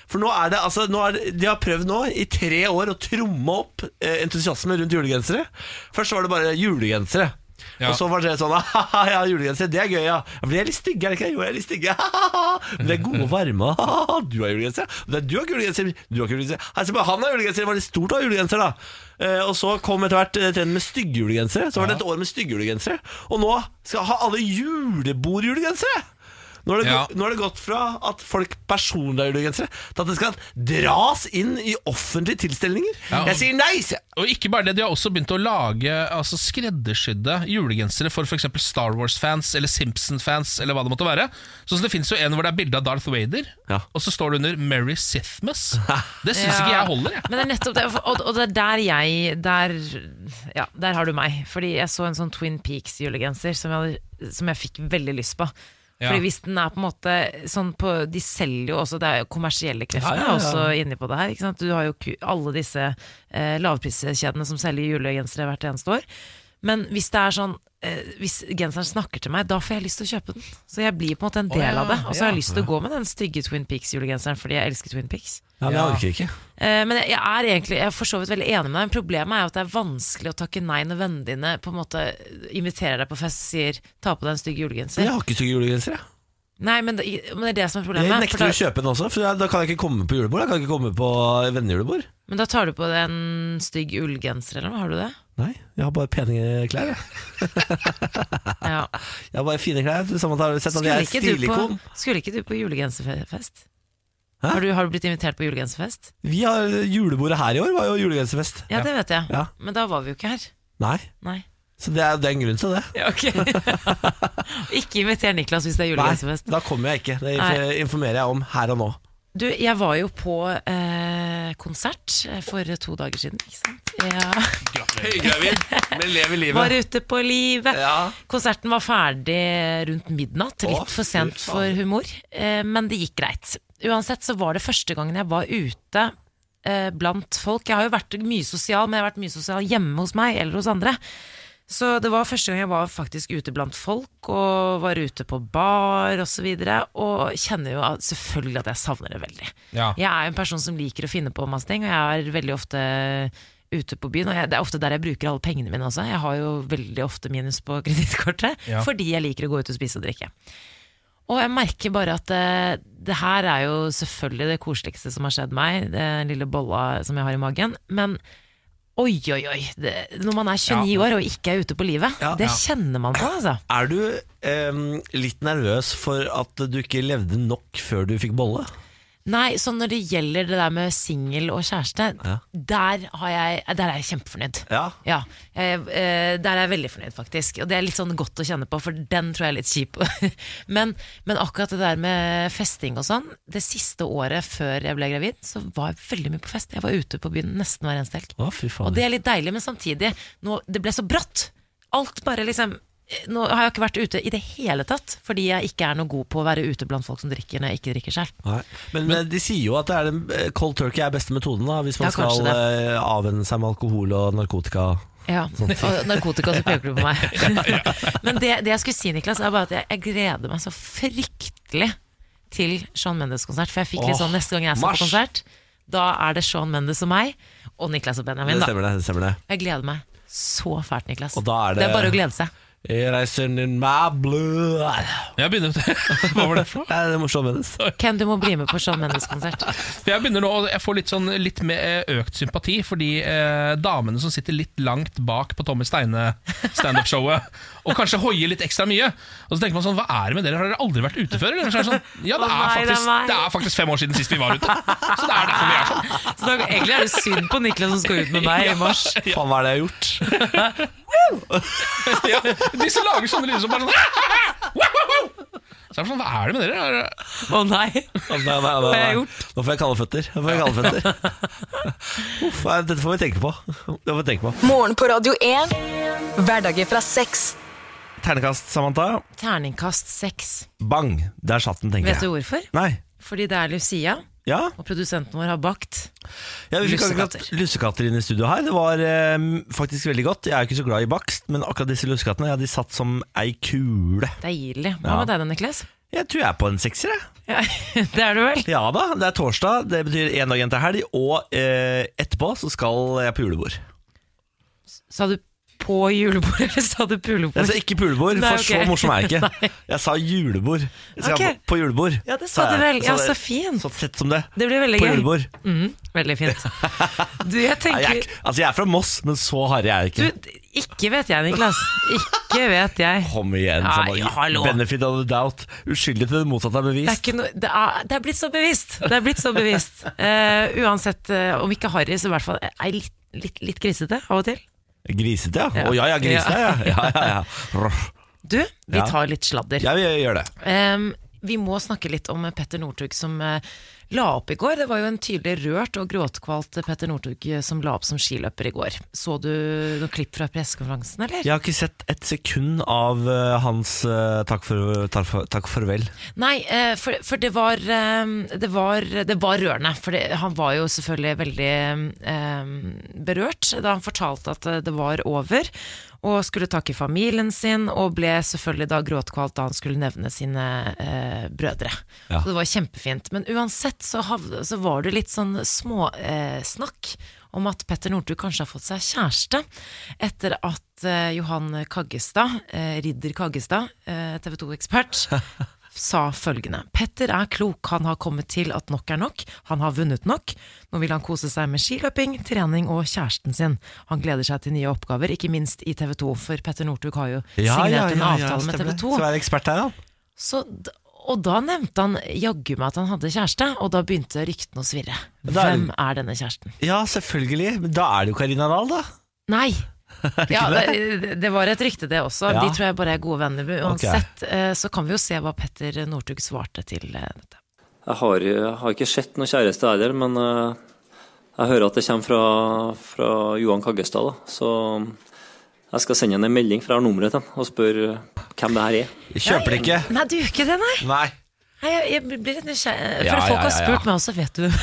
Speaker 1: For nå er det, altså nå er det, De har prøvd nå i tre år å tromme opp eh, Entusiasme rundt julegensere Først var det bare julegensere
Speaker 4: Ja.
Speaker 1: Og så var det sånn, «Haha, ja, julegensere, det er gøy, ja Ja, For de er litt stygge, er det ikke? Jo, jeg er litt stygge Men det er gode og varme «Haha, Du har julegensere, det er du har ikke julegensere Du har ikke julegensere, Nei, så bare han har julegensere Det var litt stort å ha julegensere da Eh, Og så kom etter hvert eh, trenden med stygge julegensere Så var det et år med stygge julegensere Og nå skal ha alle julebordjulegensere nå har, det
Speaker 4: Ja.
Speaker 1: gått, nå har det gått fra at folk personlig har julegensere, til at det skal dras inn i offentlige tilstelninger.
Speaker 4: Ja, og-
Speaker 1: Jeg sier nei! sier jeg.
Speaker 4: Og ikke bare det, de har også begynt å lage altså, skreddersydde julegensere for f.eks. Star Wars-fans eller Simpson-fans eller hva det måtte være. Så, det fins jo en hvor det er bilde av Darth Vader,
Speaker 1: Ja.
Speaker 4: og så står det under 'Merry Sithmas'. Det syns ikke
Speaker 2: Ja.
Speaker 4: jeg holder, jeg.
Speaker 2: Men det er nettopp det, og, og det er der jeg der, Ja, der har du meg. Fordi jeg så en sånn Twin Peaks-julegenser som, jeg hadde- som jeg fikk veldig lyst på.
Speaker 4: Ja.
Speaker 2: Fordi hvis den er på en måte sånn på De selger jo også, det er jo kommersielle krefter
Speaker 4: Ja, ja, ja.
Speaker 2: også inni på det her. Ikke sant? Du har jo ku- alle disse eh, lavpriskjedene som selger julegensere hvert eneste år. Men hvis det er sånn eh, Hvis genseren snakker til meg, da får jeg lyst til å kjøpe den. Så jeg blir på en måte en del
Speaker 4: ja,
Speaker 2: av det. Og så har jeg
Speaker 4: ja.
Speaker 2: lyst til å gå med den stygge Twin Peaks-julegenseren fordi jeg elsker Twin Peaks.
Speaker 1: Ja, men jeg orker ikke.
Speaker 2: Eh, Men jeg er egentlig jeg er for så vidt veldig enig med deg. Men problemet er jo at det er vanskelig å takke nei når vennene dine på en måte inviterer deg på fest og sier 'ta på deg en stygg julegenser'.
Speaker 1: Jeg har ikke stygge julegensere. jeg.
Speaker 2: Nei, men det, men det er det som er problemet.
Speaker 1: Jeg
Speaker 2: for
Speaker 1: nekter
Speaker 2: da,
Speaker 1: å kjøpe den også, for da- da kan jeg ikke komme på julebord. Jeg kan ikke komme på vennejulebord.
Speaker 2: Men da tar du på deg en stygg ullgenser, eller hva? Har du det?
Speaker 1: Nei, jeg har bare pene klær. jeg.
Speaker 2: Ja.
Speaker 1: Jeg har bare fine klær. Du samme har sett at
Speaker 2: Skulle,
Speaker 1: jeg er
Speaker 2: ikke du på,
Speaker 1: stilikon.
Speaker 2: skulle ikke du på julegenserfest?
Speaker 1: Hæ?
Speaker 2: Har du, har du blitt invitert på julegenserfest?
Speaker 1: Vi har Julebordet her i år var jo julegenserfest.
Speaker 2: Ja, det vet jeg.
Speaker 1: Ja.
Speaker 2: Men da var vi jo ikke her.
Speaker 1: Nei,
Speaker 2: Nei.
Speaker 1: så det er, det er en grunn til det.
Speaker 2: Ja, ok. ikke inviter Niklas hvis det er
Speaker 1: Nei,
Speaker 2: julegenserfest.
Speaker 1: da kommer jeg ikke. Det
Speaker 2: Nei.
Speaker 1: informerer jeg om her og nå.
Speaker 2: Du, jeg var jo på eh, konsert for to dager siden, ikke sant? Ja.
Speaker 1: Høygravid, men lever
Speaker 2: Var ute på livet.
Speaker 1: Ja.
Speaker 2: Konserten var ferdig rundt midnatt,
Speaker 1: Å,
Speaker 2: litt for
Speaker 1: fy
Speaker 2: sent for
Speaker 1: faen.
Speaker 2: humor, eh, men det gikk greit. Uansett så var det første gangen jeg var ute eh, blant folk. Jeg har jo vært mye sosial, men jeg har vært mye sosial hjemme hos meg eller hos andre. Så det var første gang jeg var faktisk ute blant folk, og var ute på bar osv. Og, så videre, og kjenner jo at, selvfølgelig at jeg savner det veldig.
Speaker 4: Ja.
Speaker 2: Jeg er jo en person som liker å finne på masse ting, og jeg er veldig ofte eh, ute på byen. Og jeg, det er ofte der jeg bruker alle pengene mine også. Jeg har jo veldig ofte minus på kredittkortet,
Speaker 4: Ja.
Speaker 2: fordi jeg liker å gå ut og spise og drikke. Og jeg merker bare at eh, det her er jo selvfølgelig det koseligste som har skjedd meg, den lille bolla som jeg har i magen. Men oi, oi, oi. Det, når man er 29
Speaker 4: Ja.
Speaker 2: år og ikke er ute på livet,
Speaker 1: Ja.
Speaker 2: det
Speaker 1: Ja.
Speaker 2: kjenner man på, altså.
Speaker 1: Er du em, litt nervøs for at du ikke levde nok før du fikk bolle?
Speaker 2: Nei, så når det gjelder det der med singel og kjæreste,
Speaker 1: Ja.
Speaker 2: der, har jeg, der er jeg kjempefornøyd.
Speaker 1: Ja.
Speaker 2: Ja, eh, eh, der er jeg veldig fornøyd faktisk Og det er litt sånn godt å kjenne på For den tror jeg er litt kjip men, men akkurat det der med festing og sånn Det siste året før jeg ble gravid Så var jeg veldig mye på fest Jeg var ute på byen nesten hver eneste helg
Speaker 1: Å, fy faen.
Speaker 2: Og det er litt deilig, men samtidig nå, Det ble så bratt Alt bare liksom eh, nå har jeg ikke vært ute i det hele tatt Fordi jeg ikke er noe god på å være ute blant folk som drikker Når jeg ikke drikker selv
Speaker 1: Nei. Men, eh, de sier jo at det er den, eh, cold turkey er beste metoden da, hvis man
Speaker 2: Ja, kanskje
Speaker 1: skal eh, avvenne seg med alkohol og narkotika.
Speaker 2: Ja,
Speaker 1: Sånn
Speaker 2: og narkotika, så peker du på meg. Men det, det jeg skulle si, Niklas, er bare at jeg, jeg gleder meg så fryktelig til Sean Mendes-konsert. For jeg fikk litt
Speaker 1: Åh,
Speaker 2: sånn neste gang jeg skal
Speaker 1: mars.
Speaker 2: på konsert, da er det Sean Mendes og meg, og Niklas og Benjamin.
Speaker 1: Det
Speaker 2: Da.
Speaker 1: stemmer det. det, stemmer det.
Speaker 2: Jeg gleder meg så fælt, Niklas.
Speaker 1: Og da er
Speaker 2: det
Speaker 1: det-
Speaker 2: er bare å glede seg.
Speaker 1: Jeg reiser in my blood
Speaker 4: Jeg begynner, hva var det for noe?
Speaker 1: Nei, Det er morsomt, Mendes.
Speaker 2: Ken, du må bli med på Sean Mendes-konsert.
Speaker 4: For Jeg begynner nå, og jeg får litt, sånn, litt mer eh, økt sympati for de eh, damene som sitter litt langt bak på Tommy Steine-standup-showet, og kanskje hoier litt ekstra mye. Og så tenker man sånn, hva er det med dere, har dere aldri vært ute før? Eller? Så er det sånn, ja, det
Speaker 2: Å
Speaker 4: er,
Speaker 2: nei, det er
Speaker 4: faktisk,
Speaker 2: meg.
Speaker 4: det er faktisk fem år siden sist vi var ute. Så det er derfor vi er sånn.
Speaker 2: Så da, egentlig er det synd på Niklas som skal ut med meg i mars.
Speaker 1: Faen, hva er det jeg har gjort?
Speaker 4: Ja, de som lager sånne lyder som bare sånn Så er det sånn, hva er det med dere? Er det-
Speaker 2: Å nei!
Speaker 1: Nei, nei, nei, nei.
Speaker 2: Hva har jeg gjort?
Speaker 1: Nå får jeg kalde føtter. Nå får jeg kalde føtter. Uff, nei, dette får vi tenke på. Det får vi tenke på.
Speaker 3: Morgen på Radio 1. Hverdager fra seks.
Speaker 1: Ternekast, Samantha.
Speaker 2: Terningkast seks.
Speaker 1: Bang! Der satt den, tenker
Speaker 2: Vet du
Speaker 1: jeg.
Speaker 2: hvorfor?
Speaker 1: Nei.
Speaker 2: Fordi det er Lucia,
Speaker 1: Ja,
Speaker 2: og produsenten vår har bakt.
Speaker 1: ja vi fikk akkurat
Speaker 2: Lussekatter.
Speaker 1: lussekatter inn i studio her. Det var eh, faktisk veldig godt. Jeg er jo ikke så glad i bakst, men akkurat disse lussekattene ja, de satt som ei kule.
Speaker 2: Deilig. Hva
Speaker 1: Ja.
Speaker 2: med deg da, Niklas?
Speaker 1: Jeg tror jeg er på en sekser, jeg.
Speaker 2: Ja, det er du vel?
Speaker 1: Ja da, det er torsdag. Det betyr én dag igjen til helg, og eh, etterpå så skal jeg på julebord.
Speaker 2: Sa du på julebord, eller sa du
Speaker 1: Jeg
Speaker 2: pulebord?
Speaker 1: sa ikke pulebord,
Speaker 2: Nei,
Speaker 1: for
Speaker 2: ok.
Speaker 1: så morsom er jeg ikke. Jeg sa julebord. Jeg skal
Speaker 2: Ok.
Speaker 1: på julebord.
Speaker 2: Ja, det sa du vel. Ja, så fint.
Speaker 1: Så tett som det.
Speaker 2: Det blir veldig
Speaker 1: På
Speaker 2: gøy.
Speaker 1: julebord.
Speaker 2: Mm, veldig fint. Du,
Speaker 1: Nei,
Speaker 2: jeg
Speaker 1: jeg, er
Speaker 2: tenker
Speaker 1: ikke- altså, jeg er fra Moss, men så harry er jeg
Speaker 2: du,
Speaker 1: ikke.
Speaker 2: Ikke vet jeg, Niklas. Ikke vet jeg.
Speaker 1: Kom igjen,
Speaker 2: Nei,
Speaker 1: Samantha.
Speaker 2: hallo.
Speaker 1: Benefit of the doubt. Uskyldig til det motsatte er
Speaker 2: Det er,
Speaker 1: bevist.
Speaker 2: ikke noe- det, er, det er blitt så bevisst. Det er blitt så bevisst. Eh, uansett, eh, om ikke harry, så i hvert fall ei litt, litt, litt grisete av og til.
Speaker 1: Grisete, ja.
Speaker 2: Ja.
Speaker 1: Å ja, ja, grisete, ja. ja, ja, ja.
Speaker 2: Du, vi
Speaker 1: Ja.
Speaker 2: tar litt sladder.
Speaker 1: Jeg, jeg gjør det.
Speaker 2: Ehm, vi må snakke litt om Petter Northug som eh, la opp i går. Det var jo en tydelig rørt og gråtkvalt Petter Northug eh, som la opp som skiløper i går. Så du noen klipp fra pressekonferansen, eller?
Speaker 1: Jeg har ikke sett et sekund av eh, hans eh, takk, for, takk, for, takk farvel.
Speaker 2: Nei, eh, for, for det, var, eh, det, var, det var rørende. For det, han var jo selvfølgelig veldig eh, berørt da han fortalte at eh, det var over. Og skulle takke familien sin, og ble selvfølgelig da gråtkvalt da han skulle nevne sine eh, brødre.
Speaker 1: Ja.
Speaker 2: Så det var kjempefint. Men uansett så, hav- så var det litt sånn småsnakk eh, snakk om at Petter Northug kanskje har fått seg kjæreste etter at eh, Johan Kaggestad, eh, ridder Kaggestad, eh, TV 2-ekspert, sa følgende Petter er klok, han har kommet til at nok er nok, han har vunnet nok. Nå vil han kose seg med skiløping, trening og kjæresten sin. Han gleder seg til nye oppgaver, ikke minst i TV 2, for Petter Northug har jo signert en avtale med TV 2.
Speaker 1: Skal være ekspert her, da.
Speaker 2: Så, d- og da nevnte han jaggu meg at han hadde kjæreste, og da begynte ryktene å svirre.
Speaker 1: Da er det-
Speaker 2: Hvem er denne kjæresten?
Speaker 1: Ja, selvfølgelig. Men da er det jo Carina Dahl, da.
Speaker 2: Nei! Ja, det, det var et rykte, det også.
Speaker 1: Ja.
Speaker 2: De tror jeg bare er gode venner. Men
Speaker 1: Ok.
Speaker 2: Uansett eh, så kan vi jo se hva Petter Northug svarte til eh, dette.
Speaker 5: Jeg har, jeg har ikke sett noen kjæreste heller, men eh, jeg hører at det kommer fra, fra Johan Kaggestad. Da. Så eh, jeg skal sende han en melding, for jeg har nummeret til han, og spørre hvem det her er.
Speaker 1: Jeg kjøper det ikke.
Speaker 2: Nei, du gjør ikke det, nei!
Speaker 1: Nei.
Speaker 2: Nei, jeg, jeg blir litt nysgjerrig. For
Speaker 1: Ja,
Speaker 2: folk
Speaker 1: ja,
Speaker 2: har
Speaker 1: ja, ja.
Speaker 2: spurt meg også Vet du,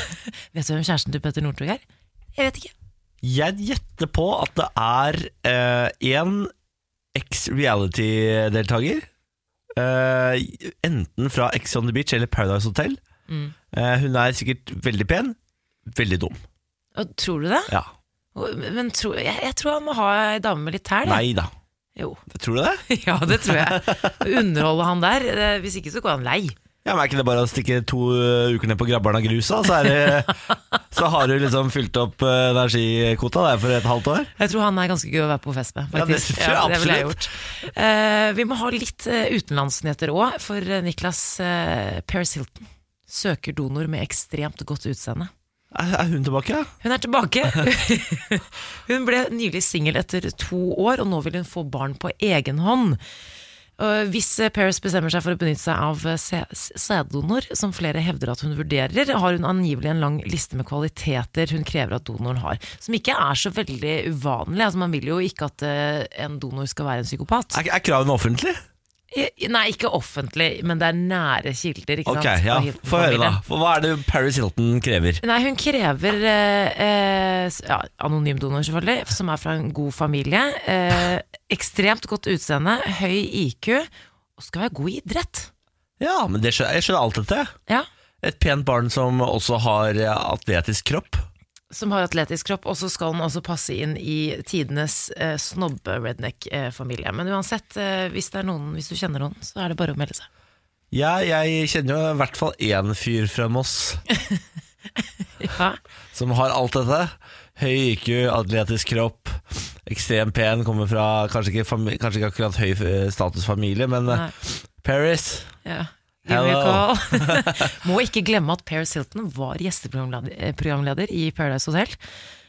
Speaker 2: vet du hvem kjæresten til Petter Northug er? Jeg vet ikke.
Speaker 1: Jeg gjetter på at det er én ex-reality-deltaker. eh, enten fra Ex on the Beach eller Paradise Hotel. Eh, hun er sikkert veldig pen. Veldig dum.
Speaker 2: Og, tror du det?
Speaker 1: Ja.
Speaker 2: Og- Men tro, jeg, jeg tror han må ha ei dame med litt tæl. jeg.
Speaker 1: Nei da.
Speaker 2: Jo.
Speaker 1: Tror du det?
Speaker 2: Ja, det tror jeg. Underholde han der. eh, Hvis ikke så går han lei.
Speaker 1: Ja, men Er ikke det bare å stikke to eh, uker ned på Grabbarna grusa, så, er det, så har du liksom fylt opp eh, energikvota der for et halvt år?
Speaker 2: Jeg tror han er ganske gøy å være på fest med.
Speaker 1: Ja, det
Speaker 2: faktisk.
Speaker 1: tror jeg
Speaker 2: det ville jeg
Speaker 1: absolutt.
Speaker 2: gjort. Eh, vi må ha litt eh, utenlandsnyheter òg, for eh, Niklas eh, Paris Hilton søker donor med ekstremt godt utseende.
Speaker 1: Er, er hun tilbake? ja?
Speaker 2: Hun er tilbake. hun ble nylig singel etter to år, og nå vil hun få barn på egen hånd. Og Hvis eh, Paris bestemmer seg for å benytte seg av eh, sæ- sæddonor, som flere hevder at hun vurderer, har hun angivelig en lang liste med kvaliteter hun krever at donoren har, som ikke er så veldig uvanlig. Altså, man vil jo ikke at eh, en donor skal være en psykopat.
Speaker 1: Er, er kravene offentlige?
Speaker 2: I- Nei, ikke offentlig, men det er nære kilder. Ikke
Speaker 1: Ok,
Speaker 2: sant?
Speaker 1: ja,
Speaker 2: Og Hilton
Speaker 1: Få høre,
Speaker 2: familien.
Speaker 1: da. For hva er det Paris Hilton krever?
Speaker 2: Nei, hun krever eh, eh, s- ja, anonym donor, selvfølgelig, som er fra en god familie. Eh, ekstremt godt utseende, høy IQ, og skal være god i idrett.
Speaker 1: Ja, men det skjønner, Jeg skjønner alt dette.
Speaker 2: Ja.
Speaker 1: Et pent barn som også har eh, atletisk kropp.
Speaker 2: Som har atletisk kropp, og så skal hun også passe inn i tidenes eh, snobbe-redneck-familie. Men uansett, eh, hvis, det er noen, hvis du kjenner noen, så er det bare å melde seg.
Speaker 1: Ja, jeg kjenner jo i hvert fall én fyr fra Moss
Speaker 2: Ja.
Speaker 1: som har alt dette. Høy IQ, atletisk kropp, ekstremt pen, kommer fra kanskje ikke, fami kanskje ikke akkurat høy eh, statusfamilie, men eh,
Speaker 2: Nei.
Speaker 1: Paris
Speaker 2: Ja. Give me a
Speaker 1: Hello.
Speaker 2: call. Må ikke glemme at Paris Hilton var gjesteprogramleder eh, programleder i Paradise Hotel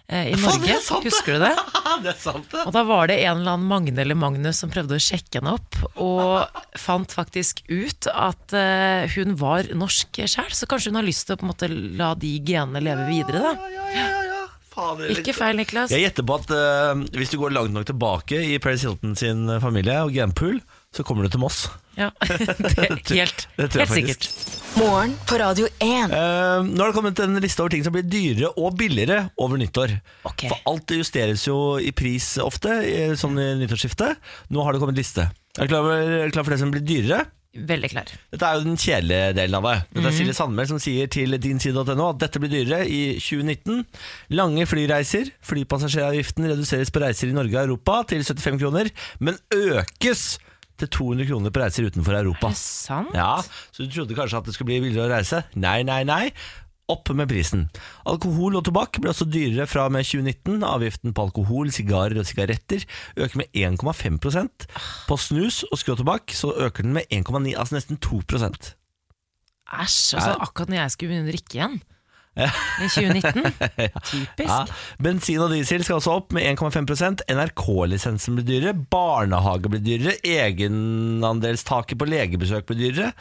Speaker 2: eh, i
Speaker 1: Faen, det er
Speaker 2: Norge.
Speaker 1: sant, det!
Speaker 2: Husker du det?
Speaker 1: Det er sant, det!
Speaker 2: Og da var det en eller annen Magne eller Magnus som prøvde å sjekke henne opp, og fant faktisk ut at eh, hun var norsk sjæl, så kanskje hun har lyst til å på en måte la de genene leve videre, da.
Speaker 1: Ja, ja, ja. Faen, det er litt-
Speaker 2: Ikke feil, Niklas.
Speaker 1: Jeg gjetter på at eh, hvis du går langt nok tilbake i Paris Hilton sin eh, familie og genpool, så kommer du til Moss.
Speaker 2: Ja, det er helt,
Speaker 1: Det tror jeg
Speaker 2: helt
Speaker 1: faktisk.
Speaker 2: sikkert.
Speaker 3: Morgen på Radio 1.
Speaker 1: Eh, nå har det kommet en liste over ting som blir dyrere og billigere over nyttår.
Speaker 2: Ok.
Speaker 1: For alt justeres jo i pris ofte, i- sånn i nyttårsskiftet. Nå har det kommet liste. Er du klar, over- er du klar for det som blir dyrere?
Speaker 2: Veldig klar.
Speaker 1: Dette er jo den kjedelige delen av det. Dette
Speaker 2: Mhm.
Speaker 1: er Silje Sandmæl som sier til dinside.no at dette blir dyrere i 2019. Lange flyreiser. Flypassasjeravgiften reduseres på reiser i Norge og Europa til 75 kroner, men økes til 200 kroner på reiser utenfor Europa.
Speaker 2: Er det sant?
Speaker 1: Ja, Så du trodde kanskje at det skulle bli billigere å reise? Nei, nei, nei. Opp med prisen. Alkohol og tobakk ble også dyrere fra og med 2019. Avgiften på alkohol, sigarer og sigaretter øker med 1,5 På snus og skråtobakk så øker den med 1,9 altså nesten 2
Speaker 2: Æsj. Altså, akkurat når jeg skulle begynne å drikke igjen. I 2019.
Speaker 1: ja.
Speaker 2: Typisk.
Speaker 1: Bensin og diesel skal også opp med 1,5 NRK-lisensen blir dyrere, barnehage blir dyrere, egenandelstaket på legebesøk blir dyrere.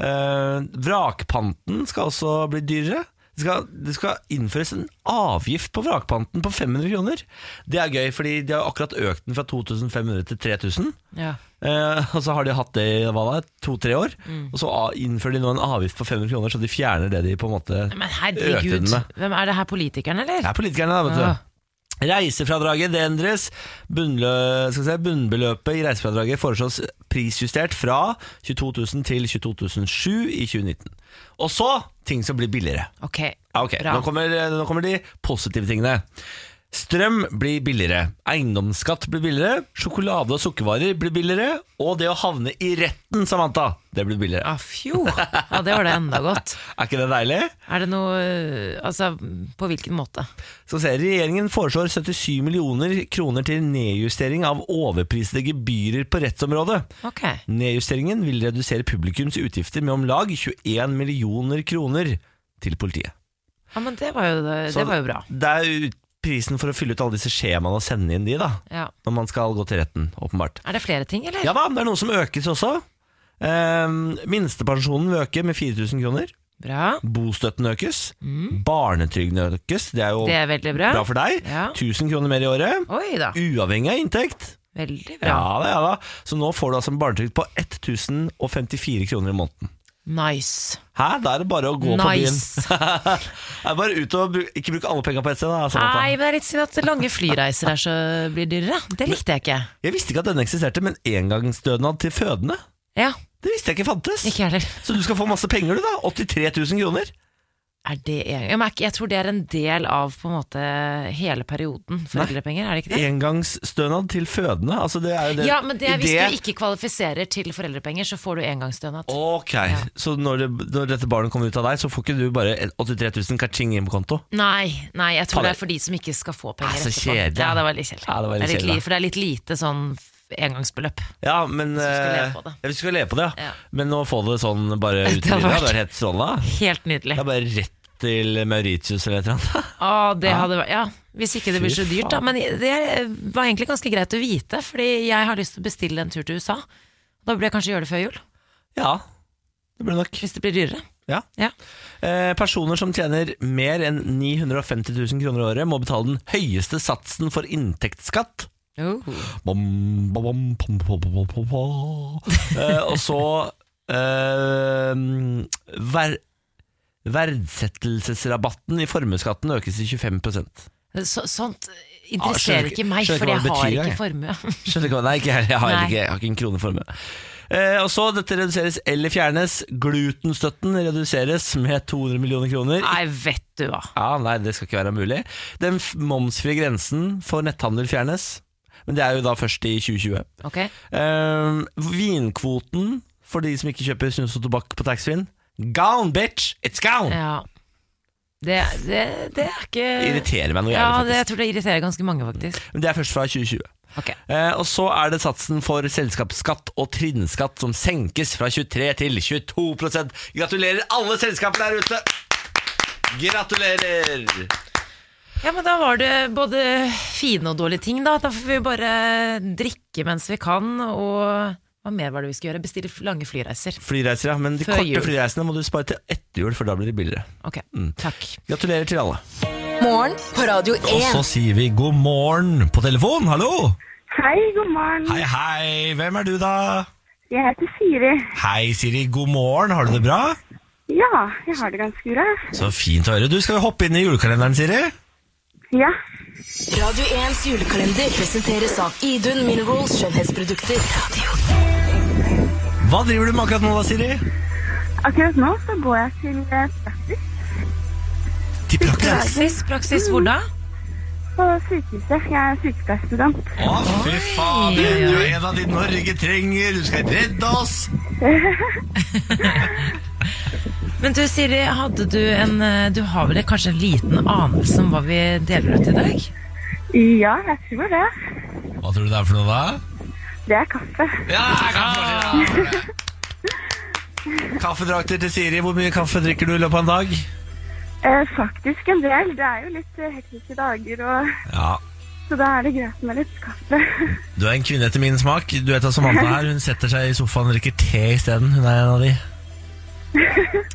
Speaker 1: Eh, vrakpanten skal også bli dyrere. Det skal, det skal innføres en avgift på vrakpanten på 500 kroner. Det er gøy, fordi de har akkurat økt den fra 2500 til 3000.
Speaker 2: Ja.
Speaker 1: Eh, og så har de hatt det i hva da, to-tre år,
Speaker 2: Mm.
Speaker 1: og så a- innfører de nå en avgift på 500 kroner, så de fjerner det de på en måte
Speaker 2: Men
Speaker 1: økte
Speaker 2: herregud,
Speaker 1: den med.
Speaker 2: hvem er det her politikerne, eller?
Speaker 1: Det er politikerne, da, vet du.
Speaker 2: Ja.
Speaker 1: Reisefradraget det endres. Bunnlø, skal vi se, bunnbeløpet i reisefradraget foreslås prisjustert fra 22 000 til 22 700 i 2019. Og så ting som blir billigere.
Speaker 2: Ok,
Speaker 1: Ja, ok,
Speaker 2: bra.
Speaker 1: nå kommer, nå kommer de positive tingene. Strøm blir billigere, eiendomsskatt blir billigere, sjokolade og sukkervarer blir billigere, og det å havne i retten, Samantha, det blir billigere.
Speaker 2: Ah, fjo. Ja, det var det enda godt.
Speaker 1: Er ikke det deilig?
Speaker 2: Er det noe øh, Altså, på hvilken måte?
Speaker 1: Så ser jeg, Regjeringen foreslår 77 millioner kroner til nedjustering av overprisede gebyrer på rettsområdet.
Speaker 2: Ok.
Speaker 1: Nedjusteringen vil redusere publikums utgifter med om lag 21 millioner kroner til politiet.
Speaker 2: Ja, men det var jo, det,
Speaker 1: Så
Speaker 2: det var jo bra.
Speaker 1: Det er jo prisen for å fylle ut alle disse skjemaene og sende inn de, da.
Speaker 2: Ja.
Speaker 1: Når man skal gå til retten, åpenbart.
Speaker 2: Er det flere ting, eller?
Speaker 1: Ja da, det er noe som økes også. Ehm, minstepensjonen vil øke med 4000 kroner.
Speaker 2: Bra.
Speaker 1: Bostøtten økes. Barnetrygden økes. Det er jo
Speaker 2: Mm. Det er veldig bra.
Speaker 1: bra for deg.
Speaker 2: Ja.
Speaker 1: 1000 kroner mer i året.
Speaker 2: Oi da.
Speaker 1: Uavhengig av inntekt.
Speaker 2: Veldig bra.
Speaker 1: Ja da, ja da. Så nå får du altså en barnetrygd på 1054 kroner i måneden.
Speaker 2: Nice.
Speaker 1: Hæ? Da er det bare å gå
Speaker 2: Nice.
Speaker 1: på byen. det er bare ut og bruke, ikke bruke alle penga på ett sted. Da, altså, Samantha.
Speaker 2: Nei, men det er litt synd at lange flyreiser er så blir dyrere. Det likte jeg ikke.
Speaker 1: Jeg visste ikke at denne eksisterte, men engangsstønad til fødende?
Speaker 2: Ja,
Speaker 1: Det visste jeg ikke fantes.
Speaker 2: ikke jeg heller.
Speaker 1: Så du skal få masse penger, du da. 83 000 kroner.
Speaker 2: Er det en... Ja, men er ikke- Jeg tror det er en del av på en måte hele perioden foreldrepenger, er det ikke det?
Speaker 1: Engangsstønad til fødende. Altså, det er jo det
Speaker 2: Ja, men det, er hvis
Speaker 1: det-
Speaker 2: du ikke kvalifiserer til foreldrepenger, så får du engangsstønad.
Speaker 1: Ok, Så når, det, når dette barnet kommer ut av deg, så får ikke du bare 83 000 kaching inn på konto?
Speaker 2: Nei, nei, jeg tror
Speaker 1: Fader.
Speaker 2: det er for de som ikke skal få
Speaker 1: Ah,
Speaker 2: penger
Speaker 1: så
Speaker 2: etterpå.
Speaker 1: kjedelig.
Speaker 2: Ja, det var litt kjedelig.
Speaker 1: Ja, det var litt
Speaker 2: Det er litt
Speaker 1: kjedelig.
Speaker 2: li- For det er litt lite sånn engangsbeløp.
Speaker 1: Ja, men
Speaker 2: Hvis du skal leve
Speaker 1: eh,
Speaker 2: på det.
Speaker 1: ja, hvis du skal leve på det, ja.
Speaker 2: Ja.
Speaker 1: Men å få det sånn bare ut i
Speaker 2: Det hadde
Speaker 1: livet, det
Speaker 2: vært-
Speaker 1: hadde vært helt strålende.
Speaker 2: Helt nydelig.
Speaker 1: Det er bare rett til Mauritius eller et eller annet.
Speaker 2: Å, det hadde vært, ja, hvis ikke det
Speaker 1: Fy
Speaker 2: blir så dyrt, da.
Speaker 1: faen.
Speaker 2: Men det er- eh, var egentlig ganske greit å vite, fordi jeg har lyst til å bestille en tur til USA. Da burde jeg kanskje gjøre det før jul,
Speaker 1: Ja, det blir nok.
Speaker 2: hvis det blir dyrere.
Speaker 1: Ja.
Speaker 2: Ja.
Speaker 1: Eh, personer som tjener mer enn 950 000 kroner i året, må betale den høyeste satsen for inntektsskatt. Oh. Bom, bom, bom, pom, pom, pom, pom, pom, pom. Eh, og så eh, ver Verdsettelsesrabatten i formuesskatten økes til 25
Speaker 2: Så, sånt
Speaker 1: Ah, skjønner
Speaker 2: interesserer
Speaker 1: ikke-
Speaker 2: ikke meg,
Speaker 1: skjønner
Speaker 2: for
Speaker 1: ikke
Speaker 2: jeg
Speaker 1: hva det
Speaker 2: har
Speaker 1: betyr,
Speaker 2: ikke
Speaker 1: jeg.
Speaker 2: formue.
Speaker 1: Skjønner ikke hva Nei, ikke jeg heller. Jeg har,
Speaker 2: Nei.
Speaker 1: ikke, jeg har ikke en krone i formue. Eh, og så Dette reduseres eller fjernes. Glutenstøtten reduseres med 200 millioner kroner.
Speaker 2: Nei, vet du hva.
Speaker 1: Ja, nei, det skal ikke være mulig. Den f- momsfrie grensen for netthandel fjernes, men det er jo da først i 2020.
Speaker 2: Ok,
Speaker 1: Ehm, vinkvoten for de som ikke kjøper snus og tobakk på taxfree-en. Gone, bitch! It's gone!
Speaker 2: ja. Det, det, det er
Speaker 1: Det
Speaker 2: ikke
Speaker 1: irriterer meg noe
Speaker 2: Ja,
Speaker 1: jævlig,
Speaker 2: det, jeg
Speaker 1: faktisk.
Speaker 2: tror det irriterer ganske mange, faktisk.
Speaker 1: Men det er først fra 2020.
Speaker 2: Ok.
Speaker 1: Eh, og så er det satsen for selskapsskatt og trinnskatt som senkes fra 23 til 22 Gratulerer alle selskaper der ute! Gratulerer!
Speaker 2: Ja, men da var det både fine og dårlige ting, da. Da får vi bare drikke mens vi kan, og hva mer var det vi skulle gjøre? Bestille lange flyreiser.
Speaker 1: Flyreiser, ja. Men de
Speaker 2: Før jul.
Speaker 1: korte flyreisene må du spare til etter jul, for da blir det billigere.
Speaker 2: Ok,
Speaker 1: Mm.
Speaker 2: takk.
Speaker 1: Gratulerer til alle.
Speaker 3: Morgen på Radio
Speaker 1: Og så
Speaker 3: 1.
Speaker 1: sier vi god morgen på telefon. Hallo!
Speaker 6: Hei, god morgen.
Speaker 1: Hei, hei. Hvem er du, da?
Speaker 6: Jeg heter Siri.
Speaker 1: Hei, Siri. God morgen. Har du det bra?
Speaker 6: Ja, jeg har det ganske bra.
Speaker 1: Så fint å høre. Du skal jo hoppe inn i julekalenderen, Siri.
Speaker 6: Ja.
Speaker 3: Radio 1s julekalender presenteres av Idun Minerals skjønnhetsprodukter.
Speaker 1: Hva driver du med akkurat nå, da, Siri?
Speaker 6: Akkurat nå så går jeg til eh, praksis
Speaker 1: Til praksis.
Speaker 2: Praksis, praksis, hvor da?
Speaker 6: på sykehuset. Jeg er sykepleierstudent.
Speaker 1: Å, fy fader. Du er en av de Norge trenger. Du skal redde oss.
Speaker 2: Men du Siri, hadde du en eh, Du har vel kanskje en liten anelse om hva vi deler ut i dag?
Speaker 6: Ja, jeg tror det.
Speaker 1: Hva tror du det er for noe, da?
Speaker 6: Det er kaffe.
Speaker 1: Ja, kaffe. Kaffedrakter til Siri. Hvor mye kaffe drikker du i løpet av en dag?
Speaker 6: Eh, faktisk en del. Det er jo litt eh, hektiske dager, og,
Speaker 1: Ja,
Speaker 6: så da er det greit med litt kaffe.
Speaker 1: Du er en kvinne etter min smak. Du vet at Samantha her, hun setter seg i sofaen og drikker te isteden. Hun er en av de.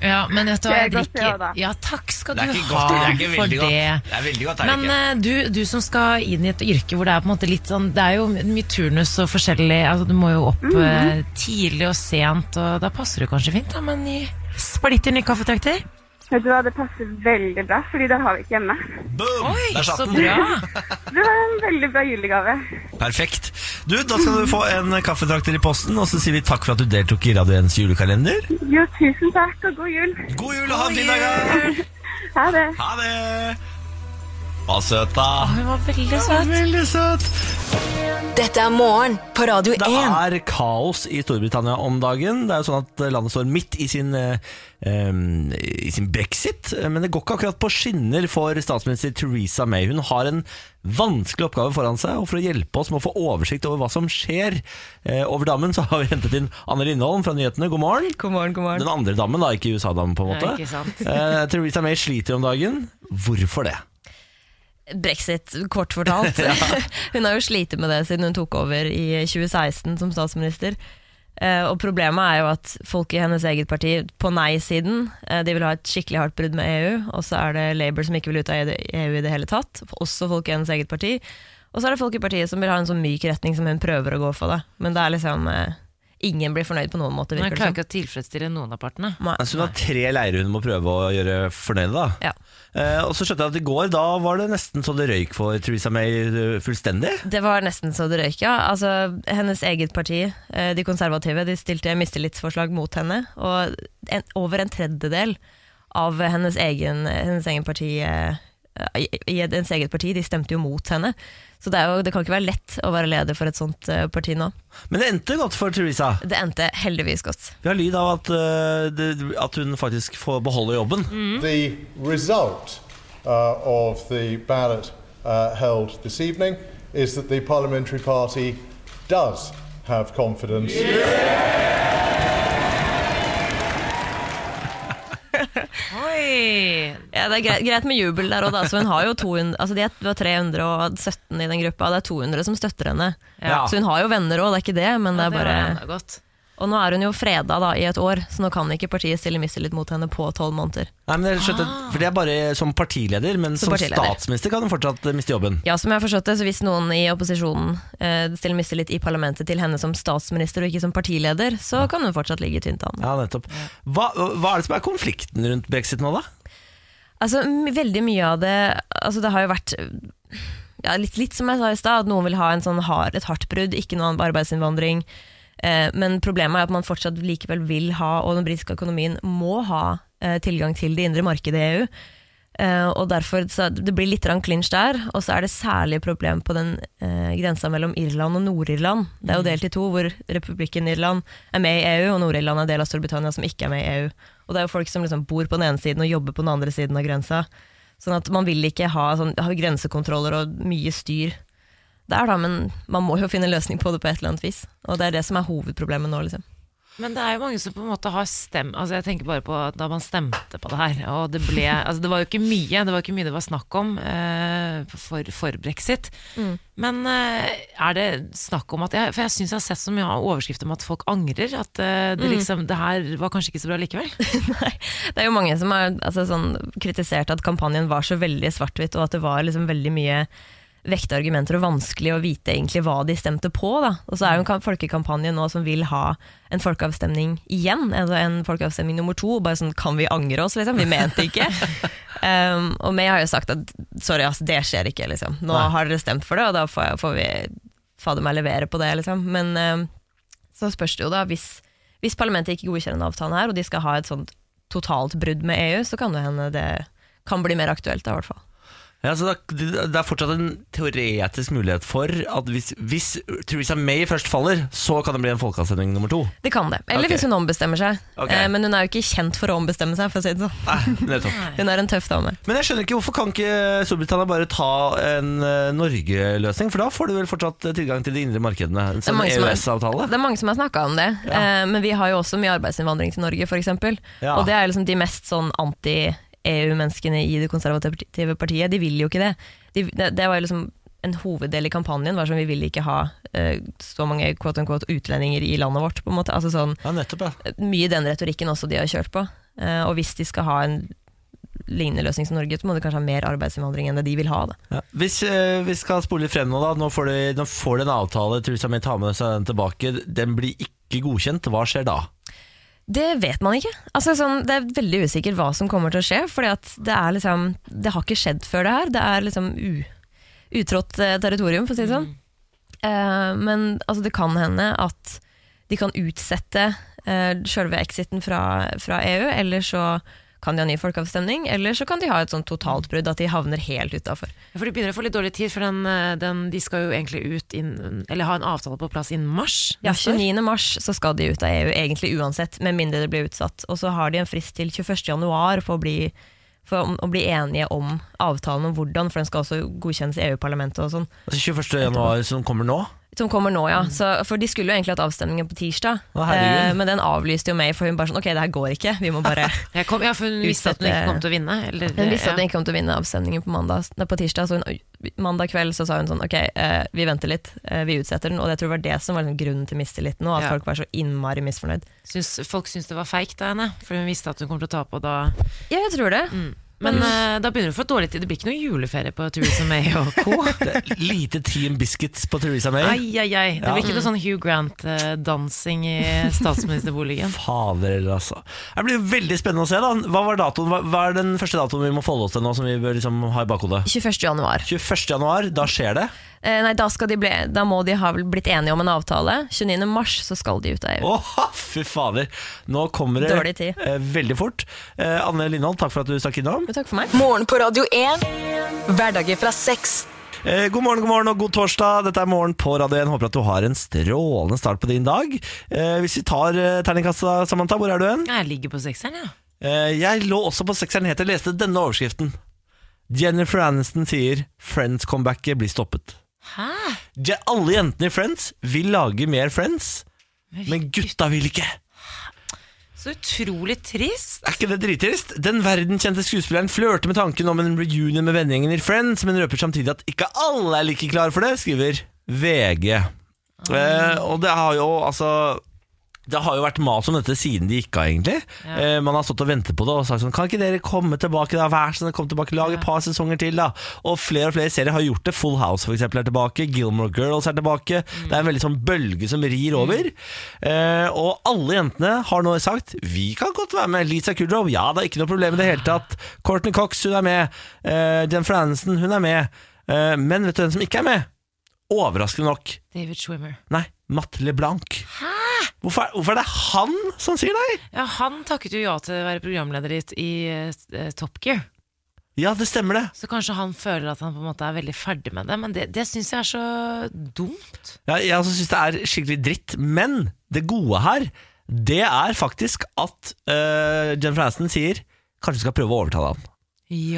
Speaker 2: Ja, men vet du hva,
Speaker 6: Det er
Speaker 2: jeg
Speaker 6: godt, det også,
Speaker 2: drikker
Speaker 6: da.
Speaker 2: Ja, takk skal du
Speaker 1: Det er
Speaker 2: ha
Speaker 1: ikke godt, det er ikke
Speaker 2: for
Speaker 1: veldig godt.
Speaker 2: det.
Speaker 1: Det er veldig godt, er det
Speaker 2: Men
Speaker 1: ikke?
Speaker 2: eh, du, du som skal inn i et yrke hvor det er på en måte litt sånn Det er jo mye turnus og forskjellig altså, Du må jo opp
Speaker 7: Mhm.
Speaker 2: eh, tidlig og sent, og da passer du kanskje fint, da, men i splitter nye kaffetrakter.
Speaker 6: Vet du hva, det passer veldig bra, fordi det har vi ikke hjemme.
Speaker 1: Boom!
Speaker 2: Oi,
Speaker 1: Der satt
Speaker 2: så
Speaker 1: den.
Speaker 2: bra!
Speaker 6: Det var en veldig bra julegave.
Speaker 1: Perfekt. Du, da skal du få en kaffetrakter i posten, og så sier vi takk for at du deltok i Radio 1s julekalender.
Speaker 6: Jo, tusen takk, og god jul.
Speaker 1: God jul og ha en fin dag! da.
Speaker 6: Ha det.
Speaker 1: Ha det! Hva søt, da.
Speaker 2: Hun var veldig søt.
Speaker 1: Veldig søt.
Speaker 3: Dette er morgen på Radio
Speaker 1: Det
Speaker 3: 1.
Speaker 1: er kaos i Storbritannia om dagen. Det er jo sånn at landet står midt i sin, eh, em, i sin brexit, men det går ikke akkurat på skinner for statsminister Theresa May. Hun har en vanskelig oppgave foran seg, og for å hjelpe oss med å få oversikt over hva som skjer eh, over dammen, så har vi hentet inn Anne Lindholm fra nyhetene. God morgen.
Speaker 7: God morgen, god morgen.
Speaker 1: Den andre dammen, da, ikke USA-dammen, på en måte.
Speaker 2: Nei, ikke sant.
Speaker 1: Eh, Theresa May sliter om dagen. Hvorfor det?
Speaker 7: Brexit, kort fortalt. hun har jo slitt med det siden hun tok over i 2016 som statsminister. Eh, og problemet er jo at folk i hennes eget parti, på nei-siden, eh, de vil ha et skikkelig hardt brudd med EU. Og så er det Labour som ikke vil ut av EU i det hele tatt. Også folk i hennes eget parti. Og så er det folk i partiet som vil ha en sånn myk retning som hun prøver å gå for. da. Men det er liksom eh, Ingen blir fornøyd på noen måte,
Speaker 2: Men jeg klarer
Speaker 7: virker sånn. det som.
Speaker 2: ikke å tilfredsstille noen av partene.
Speaker 7: Nei.
Speaker 1: Altså, hun har tre leirer hun må prøve å gjøre fornøyd, da.
Speaker 7: Ja.
Speaker 1: Eh, og så skjønte jeg at i går da var det nesten så det røyk for Theresa May eh, fullstendig.
Speaker 7: Det var nesten så det røyk, ja. Altså, hennes eget parti, eh, de konservative, de stilte mistillitsforslag mot henne. Og en, over en tredjedel av hennes egen, hennes egen parti eh, i, i hennes eget parti, de stemte jo mot henne. Så det, er jo, det kan ikke være lett å være leder for et sånt eh, parti nå.
Speaker 1: Men det endte godt for Theresa.
Speaker 7: Det endte heldigvis godt.
Speaker 1: Vi har lyd av at, eh, det, at hun faktisk får beholde jobben.
Speaker 7: Mm.
Speaker 8: The result uh, of the ballot uh, held this evening is that the Parliamentary Party does have confidence.
Speaker 2: Oi!
Speaker 7: Ja, det er greit, greit med jubel der òg, da. Så hun har jo 200, altså de er- det var 317 i den gruppa, det er 200 som støtter henne.
Speaker 1: Ja.
Speaker 7: Så hun har jo venner òg, det er ikke det, men det er bare
Speaker 2: var enda godt.
Speaker 7: Og nå er hun jo freda da, i et år, så nå kan ikke partiet stille mistillit mot henne på tolv måneder.
Speaker 1: Nei, men jeg skjønte, For det er bare som partileder, men som,
Speaker 7: Ah. Som partileder.
Speaker 1: statsminister kan hun fortsatt eh, miste jobben.
Speaker 7: Ja, som jeg har forstått det, så Hvis noen i opposisjonen eh, stiller mistillit i parlamentet til henne som statsminister og ikke som partileder, så kan hun fortsatt ligge tynt an.
Speaker 1: Ja, nettopp. Hva, hva er det som er konflikten rundt brexit nå, da?
Speaker 7: Altså, m- veldig mye av det Altså, det har jo vært ja, litt, litt som jeg sa i stad, at noen vil ha en sånn hard, et hardt brudd, ikke noe annet arbeidsinnvandring. Eh, men problemet er at man fortsatt likevel vil ha, og den britiske økonomien må ha, eh, tilgang til det indre markedet i EU. Eh, og derfor så Det blir litt grann clinch der, og så er det særlig problem på den eh, grensa mellom Irland og Nord-Irland. Det er jo delt i to, hvor republikken Irland er med i EU, og Nord-Irland er del av Storbritannia som ikke er med i EU. Og det er jo folk som liksom bor på den ene siden og jobber på den andre siden av grensa. Sånn at man vil ikke ha, sånn, ha grensekontroller og mye styr der, da, men man må jo finne en løsning på det på et eller annet vis. Og det er det som er hovedproblemet nå, liksom.
Speaker 2: Men det er jo mange som på en måte har stem Altså Jeg tenker bare på da man stemte på det her. Og det ble Altså det var jo ikke mye det var, ikke mye det var snakk om eh, for, for brexit.
Speaker 7: Mm.
Speaker 2: Men eh, er det snakk om at jeg, For jeg syns jeg har sett så mye overskrifter om at folk angrer. At eh,
Speaker 7: Mm.
Speaker 2: det liksom Det her var kanskje ikke så bra likevel.
Speaker 7: Det er jo mange som har altså, sånn, kritisert at kampanjen var så veldig svart-hvitt, og at det var liksom veldig mye vekte argumenter og vanskelig å vite egentlig hva de stemte på. Da. Og så er jo en kam- folkekampanje nå som vil ha en folkeavstemning igjen, altså en folkeavstemning nummer to. Bare sånn, kan vi angre oss, liksom? Vi mente ikke. um, og May har jo sagt at sorry, ass, det skjer ikke, liksom. Nå har dere stemt for det, og da får, jeg, får vi fader meg levere på det, liksom. Men um, så spørs det jo da, hvis, hvis parlamentet ikke godkjenner en avtale her, og de skal ha et sånt totalt brudd med EU, så kan det hende det kan bli mer aktuelt da, i hvert fall.
Speaker 1: Ja, så det er- det er fortsatt en teoretisk mulighet for at hvis, hvis Theresa May først faller, så kan det bli en folkeavstemning nummer to.
Speaker 7: Det kan det. Eller
Speaker 1: Ok.
Speaker 7: hvis hun ombestemmer seg.
Speaker 1: Ok.
Speaker 7: Eh, men hun er jo ikke kjent for å ombestemme seg, for å si det sånn.
Speaker 1: Nei, nettopp.
Speaker 7: Hun er en tøff dame.
Speaker 1: Men jeg skjønner ikke hvorfor kan ikke Storbritannia bare ta en eh, Norge-løsning? For da får du vel fortsatt eh, tilgang til de indre markedene? En
Speaker 7: Det er
Speaker 1: sånn
Speaker 7: mange som har-
Speaker 1: EØS-avtale?
Speaker 7: Det er mange som har snakka om det,
Speaker 1: Ja.
Speaker 7: eh, men vi har jo også mye arbeidsinnvandring til Norge, f.eks.
Speaker 1: Ja.
Speaker 7: Og det er liksom de mest sånn anti-EU-menneskene i det konservative partiet. De vil jo ikke det. De, det, det var jo liksom en hoveddel i kampanjen var sånn vi vil ikke ha eh, så mange quote unquote, utlendinger i landet vårt. på en måte. Altså sånn,
Speaker 1: Ja, nettopp, ja.
Speaker 7: mye den retorikken også de har kjørt på. Eh, og hvis de skal ha en lignende løsning som Norge, så må de kanskje ha mer arbeidsinnvandring enn det de vil ha. Da.
Speaker 1: Ja. Hvis eh, vi skal spole litt frem nå, da. Nå får de, nå får de en avtale. Theresa May tar med seg den tilbake. Den blir ikke godkjent. Hva skjer da?
Speaker 7: Det vet man ikke. Altså, sånn, det er veldig usikkert hva som kommer til å skje, for det, er liksom, det har ikke skjedd før det her. Det er liksom u, utrådt eh, territorium, for å si det sånn. Eh, men altså, det kan hende at de kan utsette uh, sjølve exiten fra, fra EU, eller så kan de ha ny folkeavstemning, eller så kan de ha et sånt totalt brudd, at de havner helt utafor.
Speaker 2: For de begynner å få litt dårlig tid, for den, eh, den, de skal jo egentlig ut inn, Eller ha en avtale på plass innen mars.
Speaker 7: Ja,
Speaker 2: neste år.
Speaker 7: 29. mars så skal de ut av EU, egentlig uansett, med mindre det blir utsatt. Og så har de en frist til 21. januar for å bli, for om- å bli enige om avtalen om hvordan, for den skal også godkjennes i EU-parlamentet og sånn.
Speaker 1: Altså 21. januar som kommer nå?
Speaker 7: Som kommer nå, ja. Så, for de skulle jo egentlig hatt avstemningen på tirsdag,
Speaker 1: Å, herregud.
Speaker 7: eh, men den avlyste jo meg, for hun bare sånn, ok, det her går ikke, vi må bare...
Speaker 2: Jeg kom, ja, for hun visste at hun ikke kom til å vinne. Eller,
Speaker 7: Hun visste
Speaker 2: ja.
Speaker 7: at hun ikke kom til å vinne avstemningen på, mandag, nei, på tirsdag, så hun, mandag kveld så sa hun sånn Ok, eh, vi venter litt, eh, vi utsetter den. Og jeg tror det var det som var liksom grunnen til mistilliten nå, at
Speaker 2: Ja.
Speaker 7: folk var så innmari misfornøyd.
Speaker 2: eh, Syns- folk syntes det var feigt av henne, for hun visste at hun kom til å tape. Og da.
Speaker 7: Ja, jeg tror det.
Speaker 2: Men eh, da begynner hun å få dårlig tid. Det blir ikke noe juleferie på Theresa May og co.
Speaker 1: Det er lite Team Biscuits på Theresa May.
Speaker 2: Ai, ai, ai. Det
Speaker 1: Ja.
Speaker 2: blir ikke noe sånn Hugh Grant-dansing i statsministerboligen.
Speaker 1: Fader, eller altså. Det blir veldig spennende å se. da Hva, var datoen? Hva, hva er den første datoen vi må forholde oss til nå, som vi bør liksom ha i bakhodet?
Speaker 7: 21. januar.
Speaker 1: 21. januar, da skjer det.
Speaker 7: Eh, nei, da, skal de bli, da må de ha vel blitt enige om en avtale. 29. mars så skal de ut av EU.
Speaker 1: Åh, fy fader! Nå kommer det
Speaker 7: Dårlig tid.
Speaker 1: Eh, veldig fort. Eh, Anne Lindholm, takk for at du stakk innom.
Speaker 7: Men Takk for meg.
Speaker 3: Morgen på Radio 1. Hverdager fra seks.
Speaker 1: Eh, god morgen, god morgen og god torsdag. Dette er Morgen på Radio 1. Håper at du har en strålende start på din dag. Eh, hvis vi tar eh, terningkastet, da, Samantha, hvor er du hen?
Speaker 2: Jeg ligger på sekseren, ja.
Speaker 1: Eh, jeg lå også på sekseren helt til jeg leste denne overskriften. Jennifer Aniston sier 'Friends-comebacket blir stoppet'.
Speaker 2: Hæ?
Speaker 1: Je- Alle jentene i Friends vil lage mer Friends, men gutta vil ikke.
Speaker 2: Så utrolig trist.
Speaker 1: Er ikke det drittrist? Den verdenskjente skuespilleren flørter med tanken om en reunion med vennegjengen i Friends, men røper samtidig at ikke alle er like klare for det, skriver VG. Eh, og det har jo altså det har jo vært mas om dette siden de gikk av, egentlig. Eh, man har stått og ventet på det og sagt sånn Kan ikke dere komme tilbake, da? Vær så snill, kom tilbake, lag et par sesonger til, da. Og flere og flere serier har gjort det. Full House for eksempel, er tilbake. Gilmore Girls er tilbake. Det er en veldig sånn bølge som rir over. Eh, og alle jentene har nå sagt Vi kan godt være med. Lisa Kudrow, ja det er ikke noe problem i det hele tatt. Courtney Cox, hun er med. Eh, Jennifer Aniston, hun er med. Eh, men vet du hvem som ikke er med? Overraskende nok.
Speaker 2: David Schwimmer.
Speaker 1: Nei, Matt LeBlanc. Hvorfor, er- hvorfor er det han som sier nei?
Speaker 2: Ja, han takket jo ja til å være programleder i, i eh, Top Gear.
Speaker 1: Ja, det stemmer det.
Speaker 2: Så kanskje han føler at han på en måte er veldig ferdig med det, men det, det syns jeg er så dumt.
Speaker 1: Ja, jeg også syns det er skikkelig dritt. Men det gode her, det er faktisk at øh, Jennifer Aniston sier Kanskje du skal prøve å overtale han. Så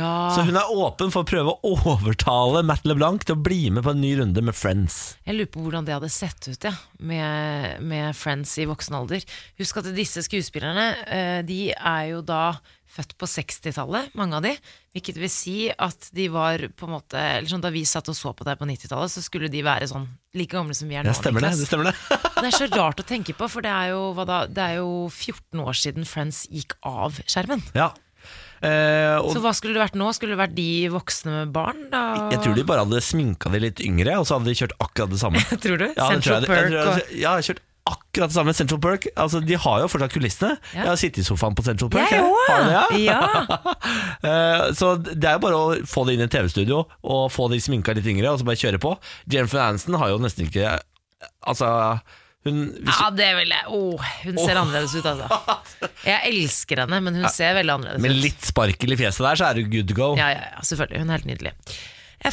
Speaker 2: Ja
Speaker 1: hun er åpen for å prøve å overtale Matt LeBlanc til å bli med på en ny runde med Friends.
Speaker 2: Jeg lurer på hvordan det hadde sett ut ja, med, med Friends i voksen alder. Husk at disse skuespillerne eh, De er jo da født på 60-tallet, mange av de. Hvilket vil si at de var på en måte eller sånn, Da vi satt og så på deg på 90-tallet, så skulle de være sånn like gamle som vi er nå.
Speaker 1: Ja, stemmer det.
Speaker 2: Niklas.
Speaker 1: det, stemmer det.
Speaker 2: Det er så rart å tenke på, for det er jo, hva da, det er jo 14 år siden Friends gikk av skjermen.
Speaker 1: Ja. Eh, og
Speaker 2: Så hva skulle det vært nå? Skulle det vært de voksne med barn? Da?
Speaker 1: jeg tror de bare hadde sminka de litt yngre, og så hadde de kjørt akkurat det samme.
Speaker 2: Tror du?
Speaker 1: Ja, det tror jeg,
Speaker 2: Central
Speaker 1: jeg,
Speaker 2: Perk
Speaker 1: tror jeg, jeg har kjørt akkurat det samme Central Perk. Altså, de har jo fortsatt kulissene.
Speaker 2: Ja.
Speaker 1: Jeg har sittet i sofaen på Central
Speaker 2: og
Speaker 1: Perk. Har
Speaker 2: Jeg
Speaker 1: du det,
Speaker 2: òg!
Speaker 1: ja?
Speaker 2: Ja.
Speaker 1: Eh, Så det er jo bare å få det inn i et TV-studio og få de sminka litt yngre, og så bare kjøre på. Jennifer Aniston har jo nesten ikke Altså, hun hvis,
Speaker 2: ja, det vil jeg. Åh, hun ser annerledes ut, altså. Jeg elsker henne, men hun ser veldig annerledes ut.
Speaker 1: Med litt sparkel i fjeset der, så er du good to go.
Speaker 2: Ja, ja, ja, selvfølgelig. Hun er helt nydelig.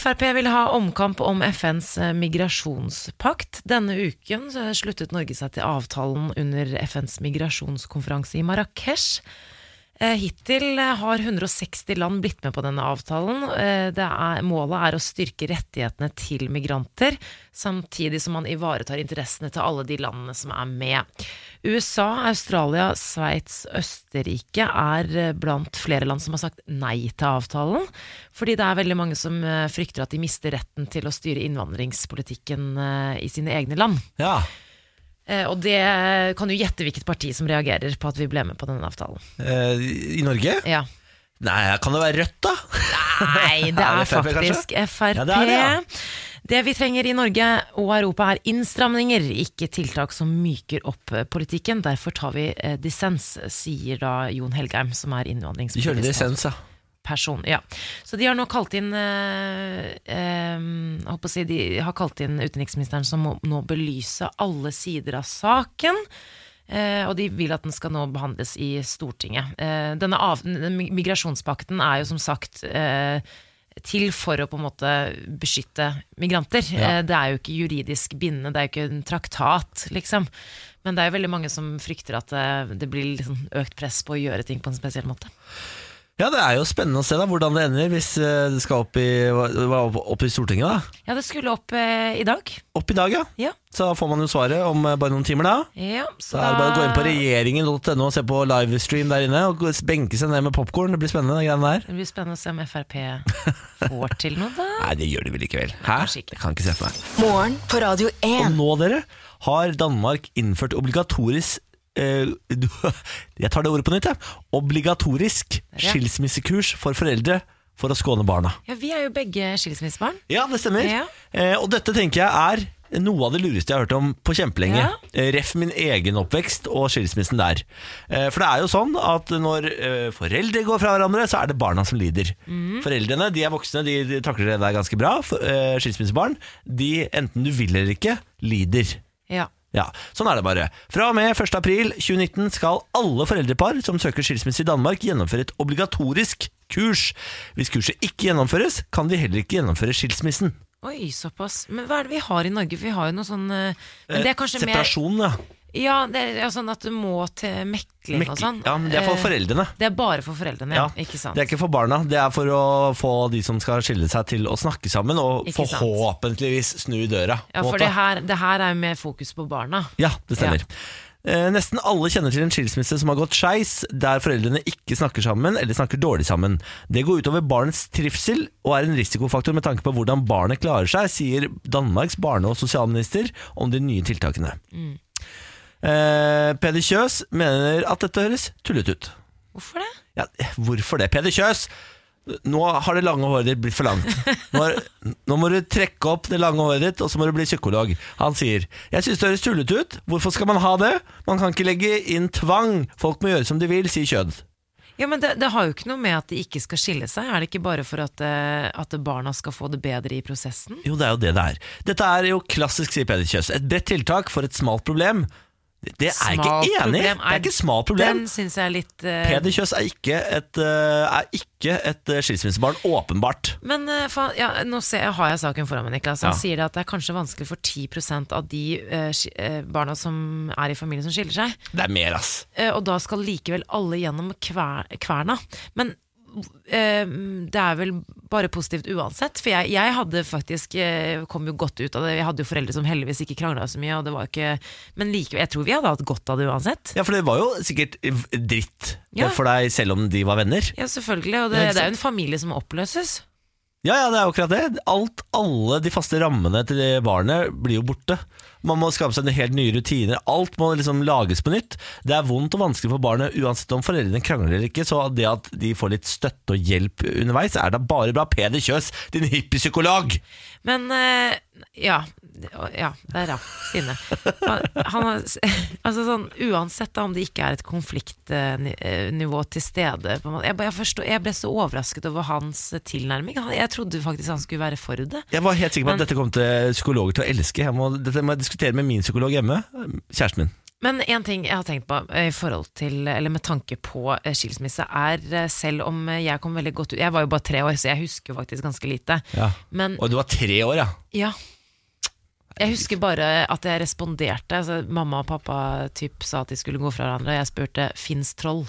Speaker 2: Frp vil ha omkamp om FNs migrasjonspakt. Denne uken så sluttet Norge seg til avtalen under FNs migrasjonskonferanse i Marrakech. Eh, Hittil eh, har 160 land blitt med på denne avtalen. Eh, Det er, målet er å styrke rettighetene til migranter, samtidig som man ivaretar interessene til alle de landene som er med. USA, Australia, Sveits, Østerrike er eh, blant flere land som har sagt nei til avtalen, fordi det er veldig mange som eh, frykter at de mister retten til å styre innvandringspolitikken eh, i sine egne land.
Speaker 1: Ja,
Speaker 2: Eh, Og det kan du gjette hvilket parti som reagerer på at vi ble med på denne avtalen.
Speaker 1: eh, I Norge?
Speaker 2: Ja.
Speaker 1: Nei, kan det være Rødt, da?
Speaker 2: Nei, det
Speaker 1: Er
Speaker 2: er
Speaker 1: det FrP,
Speaker 2: faktisk Frp.
Speaker 1: Ja, det er det, ja.
Speaker 2: Det vi trenger i Norge og Europa er innstramninger, ikke tiltak som myker opp eh, politikken. Derfor tar vi eh, dissens, sier da Jon Helgheim, som er
Speaker 1: De kjører
Speaker 2: innvandringspolitisk
Speaker 1: dissens, ja.
Speaker 2: person. Ja. Så de har nå kalt inn eh, eh, jeg håper å si, De har kalt inn utenriksministeren som må nå belyse alle sider av saken. Eh, og de vil at den skal nå behandles i Stortinget. Eh, denne av, mi- migrasjonspakten er jo som sagt eh, til for å på en måte beskytte migranter. Eh, det er jo ikke juridisk bindende, det er jo ikke en traktat, liksom. Men det er jo veldig mange som frykter at eh, det blir liksom økt press på å gjøre ting på en spesiell måte.
Speaker 1: Ja, Det er jo spennende å se da hvordan det ender hvis eh, det skal opp i, hva- hva- opp i Stortinget. da
Speaker 2: Ja, det skulle opp eh, i dag.
Speaker 1: Opp i dag, ja.
Speaker 2: Ja.
Speaker 1: Så får man jo svaret om eh, bare noen timer. da
Speaker 2: ja så
Speaker 1: Så er det bare å gå inn på
Speaker 2: da-
Speaker 1: regjeringen.no og se på livestream der inne. Og gå- benke seg ned med popkorn. Det blir spennende, de greiene der.
Speaker 2: Det blir spennende å se om Frp får til noe, da.
Speaker 1: Nei, det gjør de vel ikke vel. Hæ?
Speaker 2: Kanskje ikke.
Speaker 1: Jeg kan ikke se for meg.
Speaker 3: Morgen på Radio
Speaker 1: Og
Speaker 3: 1.
Speaker 1: nå, dere, har Danmark innført obligatorisk eh, Jeg tar det ordet på nytt, jeg. Obligatorisk
Speaker 2: ja.
Speaker 1: skilsmissekurs for foreldre for å skåne barna.
Speaker 2: Ja, Vi er jo begge skilsmissebarn.
Speaker 1: Ja, det stemmer.
Speaker 2: Ja.
Speaker 1: Eh, og dette tenker jeg er noe av det lureste jeg har hørt om på kjempelenge.
Speaker 2: Ja.
Speaker 1: Eh, Ref min egen oppvekst og skilsmissen der. Eh, for det er jo sånn at når eh, foreldre går fra hverandre, så er det barna som lider.
Speaker 2: Mhm.
Speaker 1: Foreldrene de er voksne, de, de takler det der ganske bra. For, eh, skilsmissebarn, de enten du vil eller ikke, lider.
Speaker 2: Ja.
Speaker 1: Ja, sånn er det bare. Fra og med 1. april 2019 skal alle foreldrepar som søker skilsmisse i Danmark gjennomføre et obligatorisk kurs. Hvis kurset ikke gjennomføres, kan de heller ikke gjennomføre skilsmissen.
Speaker 2: Oi, såpass. Men hva er det vi har i Norge? Vi har jo noe sånn eh, men det er kanskje mer,
Speaker 1: Separasjon, ja.
Speaker 2: Ja, det er ja, sånn at du må til mekling og
Speaker 1: Mek-
Speaker 2: sånn.
Speaker 1: ja, men det er for
Speaker 2: Eh,
Speaker 1: foreldrene.
Speaker 2: Det er bare for foreldrene, ja.
Speaker 1: Ja,
Speaker 2: Ikke sant.
Speaker 1: Det er ikke for barna, det er for å få de som skal skille seg til å snakke sammen, og
Speaker 2: Ikke sant.
Speaker 1: forhåpentligvis snu døra. på
Speaker 2: ja,
Speaker 1: en
Speaker 2: for
Speaker 1: måte.
Speaker 2: det her, det her er jo mer fokus på barna.
Speaker 1: Ja, det stemmer. Eh, nesten alle kjenner til en skilsmisse som har gått skeis, der foreldrene ikke snakker sammen eller snakker dårlig sammen. Det går utover barnets trivsel og er en risikofaktor med tanke på hvordan barnet klarer seg, sier Danmarks barne- og sosialminister om de nye tiltakene. Eh, Peder Kjøs mener at dette høres tullete ut.
Speaker 2: Hvorfor det?
Speaker 1: Ja, hvorfor det? Peder Kjøs! Nå har det lange håret ditt blitt for langt. Nå, er, nå må du trekke opp det lange håret ditt, og så må du bli psykolog. Han sier Jeg synes det høres tullete ut. Hvorfor skal man ha det? Man kan ikke legge inn tvang. Folk må gjøre som de vil, sier Kjød.
Speaker 2: Ja, men det, det har jo ikke noe med at de ikke skal skille seg. Er det ikke bare for at, eh, at barna skal få det bedre i prosessen?
Speaker 1: Jo, det er jo det det er. Dette er jo klassisk, sier Peder Kjøs. Et bredt tiltak for et smalt problem. Det er jeg
Speaker 2: Smalt
Speaker 1: ikke enig i. Det
Speaker 2: problem
Speaker 1: er ikke et smalt problem.
Speaker 2: Den syns jeg er litt eh,
Speaker 1: Peder Kjøs er ikke et, eh, er ikke et eh, skilsmissebarn, åpenbart.
Speaker 2: Men eh, faen, ja, nå ser, jeg- har jeg saken foran meg, Niklas. Han
Speaker 1: Ja.
Speaker 2: sier det at det er kanskje vanskelig for 10 av de eh, sk- eh, barna som er i familien som skiller seg.
Speaker 1: Det er mer, ass.
Speaker 2: Eh, og da skal likevel alle gjennom kver, kverna. Men eh, det er vel bare positivt uansett. For jeg, jeg hadde faktisk eh, kom jo godt ut av det. Jeg hadde jo foreldre som heldigvis ikke krangla så mye. Og det var jo ikke, men likevel, jeg tror vi hadde hatt godt av det uansett.
Speaker 1: Ja, for det var jo sikkert dritt
Speaker 2: Ja.
Speaker 1: for deg, selv om de var venner.
Speaker 2: Ja, selvfølgelig. Og
Speaker 1: Ja,
Speaker 2: det,
Speaker 1: ikke
Speaker 2: det er
Speaker 1: sant?
Speaker 2: jo en familie som oppløses.
Speaker 1: Ja, ja, det er akkurat det. Alt, alle de faste rammene til det barnet blir jo borte. Man må skape seg en helt nye rutiner. Alt må liksom lages på nytt. Det er vondt og vanskelig for barnet uansett om foreldrene krangler eller ikke, så det at de får litt støtte og hjelp underveis, er da bare bra. Peder Kjøs, din hippiepsykolog!
Speaker 2: Men eh, ja, ja, der ja, Stine. Han, han har- altså sånn, uansett da, om det ikke er et konfliktnivå til stede på en måte. jeg, bare- jeg, forstår, jeg ble så overrasket over hans tilnærming. Han, jeg trodde faktisk han skulle være for det.
Speaker 1: Jeg var helt sikker på at
Speaker 2: Men-
Speaker 1: dette kom til psykologer til å elske. Jeg må, dette må jeg diskutere med min psykolog hjemme. Kjæresten min.
Speaker 2: Men én ting jeg har tenkt på eh, i forhold til, eller med tanke på eh, skilsmisse, er eh, selv om eh, jeg kom veldig godt ut Jeg var jo bare tre år, så jeg husker jo faktisk ganske lite.
Speaker 1: Ja.
Speaker 2: Men
Speaker 1: Og du var tre år, ja.
Speaker 2: Ja. Jeg husker bare at jeg responderte. Altså, mamma og pappa typ, sa at de skulle gå fra hverandre, og jeg spurte 'fins troll'?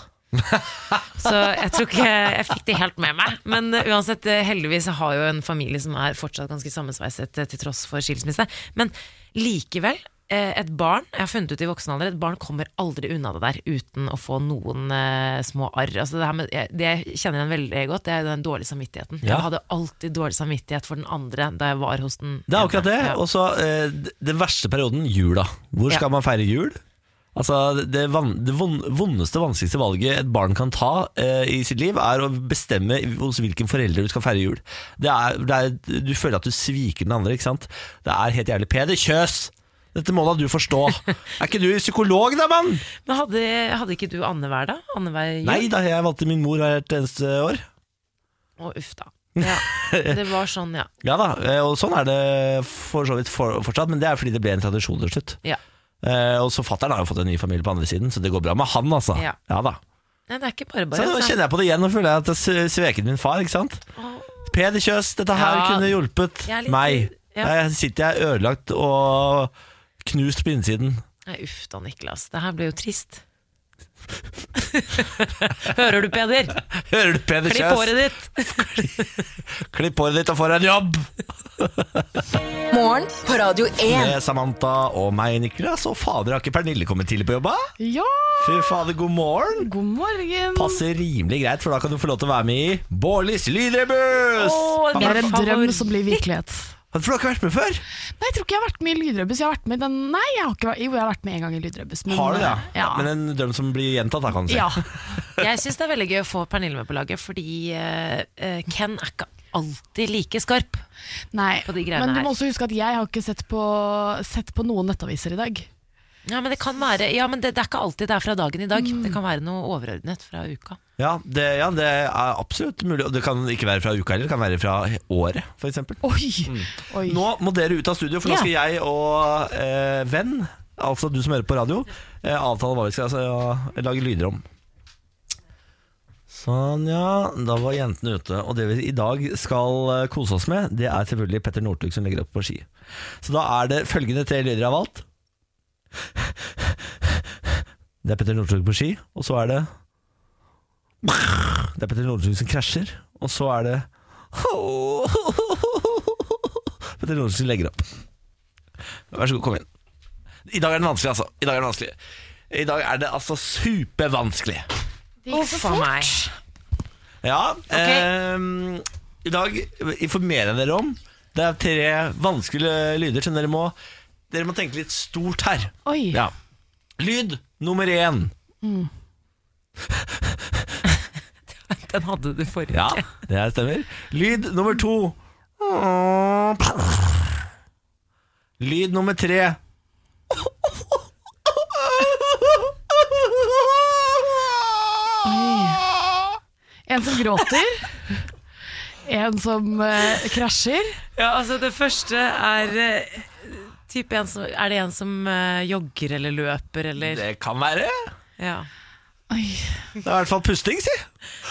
Speaker 2: Så jeg tror ikke jeg fikk det helt med meg. Men eh, uansett, eh, heldigvis jeg har jo en familie som er fortsatt ganske sammensveiset eh, til tross for skilsmisse. Men likevel, eh, et barn Jeg har funnet ut i voksen alder et barn kommer aldri unna det der uten å få noen eh, små arr. Altså det, her med, jeg- det jeg kjenner igjen veldig godt, det er den dårlige samvittigheten.
Speaker 1: Ja.
Speaker 2: Jeg hadde alltid dårlig samvittighet for den andre da jeg var hos den.
Speaker 1: Det er akkurat det.
Speaker 2: ene. Ja.
Speaker 1: Og så eh, d- den verste perioden, jula. Hvor skal
Speaker 2: Ja.
Speaker 1: man feire jul? Altså Det, van, det von- vondeste, vanskeligste valget et barn kan ta eh, i sitt liv, er å bestemme hos hvilken forelder du skal feire jul. Det er, det er, du føler at du sviker den andre, ikke sant? Det er helt jævlig. Peder, kjøs! Dette må da du forstå. Er ikke du psykolog, da, mann?
Speaker 2: Men hadde, hadde ikke du annenhver da? Annenhver jul?
Speaker 1: Nei da, jeg valgte min mor hvert eneste år.
Speaker 2: Å, uff da. Ja. Det var sånn, ja.
Speaker 1: Ja da, eh, og sånn er det for så vidt for, fortsatt, men det er fordi det ble en tradisjon til slutt.
Speaker 2: ja.
Speaker 1: Eh, og så fatteren har jo fått en ny familie på andre siden, så det går bra med han, altså.
Speaker 2: Ja.
Speaker 1: da.
Speaker 2: Nei, det er ikke bare
Speaker 1: Så
Speaker 2: bare.
Speaker 1: nå
Speaker 2: altså.
Speaker 1: kjenner jeg på det igjen, og føler jeg at jeg s- sveket min far, ikke sant? Peder Kjøs, dette her
Speaker 2: Ja.
Speaker 1: kunne hjulpet
Speaker 2: Jeg er litt-
Speaker 1: meg.
Speaker 2: ja.
Speaker 1: Her sitter jeg ødelagt og knust på innsiden.
Speaker 2: Nei, uff da, Niklas. Det her ble jo trist. Hører du, Peder?
Speaker 1: Hører du, Peder
Speaker 2: Klipp håret
Speaker 1: Kjøs?
Speaker 2: ditt.
Speaker 1: Klipp håret ditt og få deg en jobb!
Speaker 3: Morgen på Radio 1.
Speaker 1: Med Samantha og meg, Niklas. Og fader, har ikke Pernille kommet tidlig på jobba?
Speaker 9: Ja,
Speaker 1: Fy fader, god morgen!
Speaker 9: god morgen!
Speaker 2: Mm.
Speaker 1: Passer rimelig greit, for da kan du få lov til å være med i Bårlis lydrebuss!
Speaker 2: Å,
Speaker 1: Har
Speaker 2: min
Speaker 9: Mer
Speaker 1: du-
Speaker 9: en drøm som blir virkelighet.
Speaker 1: for du har ikke vært med før?
Speaker 9: Nei, jeg tror ikke jeg har vært med i Lydrebuss. Jeg har vært med i den Nei, jeg har ikke vært... jo, jeg har vært med en gang i Lydrebuss. men- eh,
Speaker 1: Har du det?
Speaker 9: Ja.
Speaker 1: Men en drøm som blir gjentatt, da, kan du si.
Speaker 9: ja.
Speaker 2: Jeg syns det er veldig gøy å få Pernille med på laget, fordi eh, eh, Ken er ikke alltid like skarp.
Speaker 9: Nei.
Speaker 2: På de greiene
Speaker 9: Men du
Speaker 2: her.
Speaker 9: må også huske at jeg har ikke sett på, sett på noen nettaviser i dag.
Speaker 2: Ja, men det kan være Ja, men det, det er ikke alltid det er fra dagen i dag.
Speaker 9: Mm.
Speaker 2: Det kan være noe overordnet fra uka.
Speaker 1: Ja det, ja, det er absolutt mulig. Og det kan ikke være fra uka heller, det kan være fra året, f.eks.
Speaker 9: Oi! Oi.
Speaker 1: Nå må dere ut av studio, for nå
Speaker 2: Ja.
Speaker 1: skal jeg og eh, venn, altså du som hører på radio, eh, avtale hva vi skal altså, lage lyder om. Sånn, ja. Da var jentene ute. Og det vi i dag skal eh, kose oss med, det er selvfølgelig Petter Northug som legger opp på ski. Så da er det følgende tre lyder jeg har valgt. Det er Petter Northug på ski, og så er det Det er Petter Northug som krasjer, og så er det Petter Northug som legger opp. Vær så god, kom inn. I dag er den vanskelig, altså. I dag er den vanskelig. I dag er det altså supervanskelig.
Speaker 2: Det gikk så fort.
Speaker 1: Ja.
Speaker 2: Ok.
Speaker 1: ehm, I dag informerer jeg dere om Det er tre vanskelige lyder som dere må Dere må tenke litt stort her.
Speaker 9: Oi.
Speaker 1: Ja. Lyd nummer én.
Speaker 2: Den hadde du forrige.
Speaker 1: Ja, det her stemmer. Lyd nummer to. Lyd nummer tre.
Speaker 9: En som gråter. En som eh, krasjer.
Speaker 2: Ja, altså det første er eh, typ en som, Er det en som eh, jogger eller løper eller
Speaker 1: Det kan være.
Speaker 2: Ja.
Speaker 9: Oi.
Speaker 1: Det er i hvert fall pusting, si.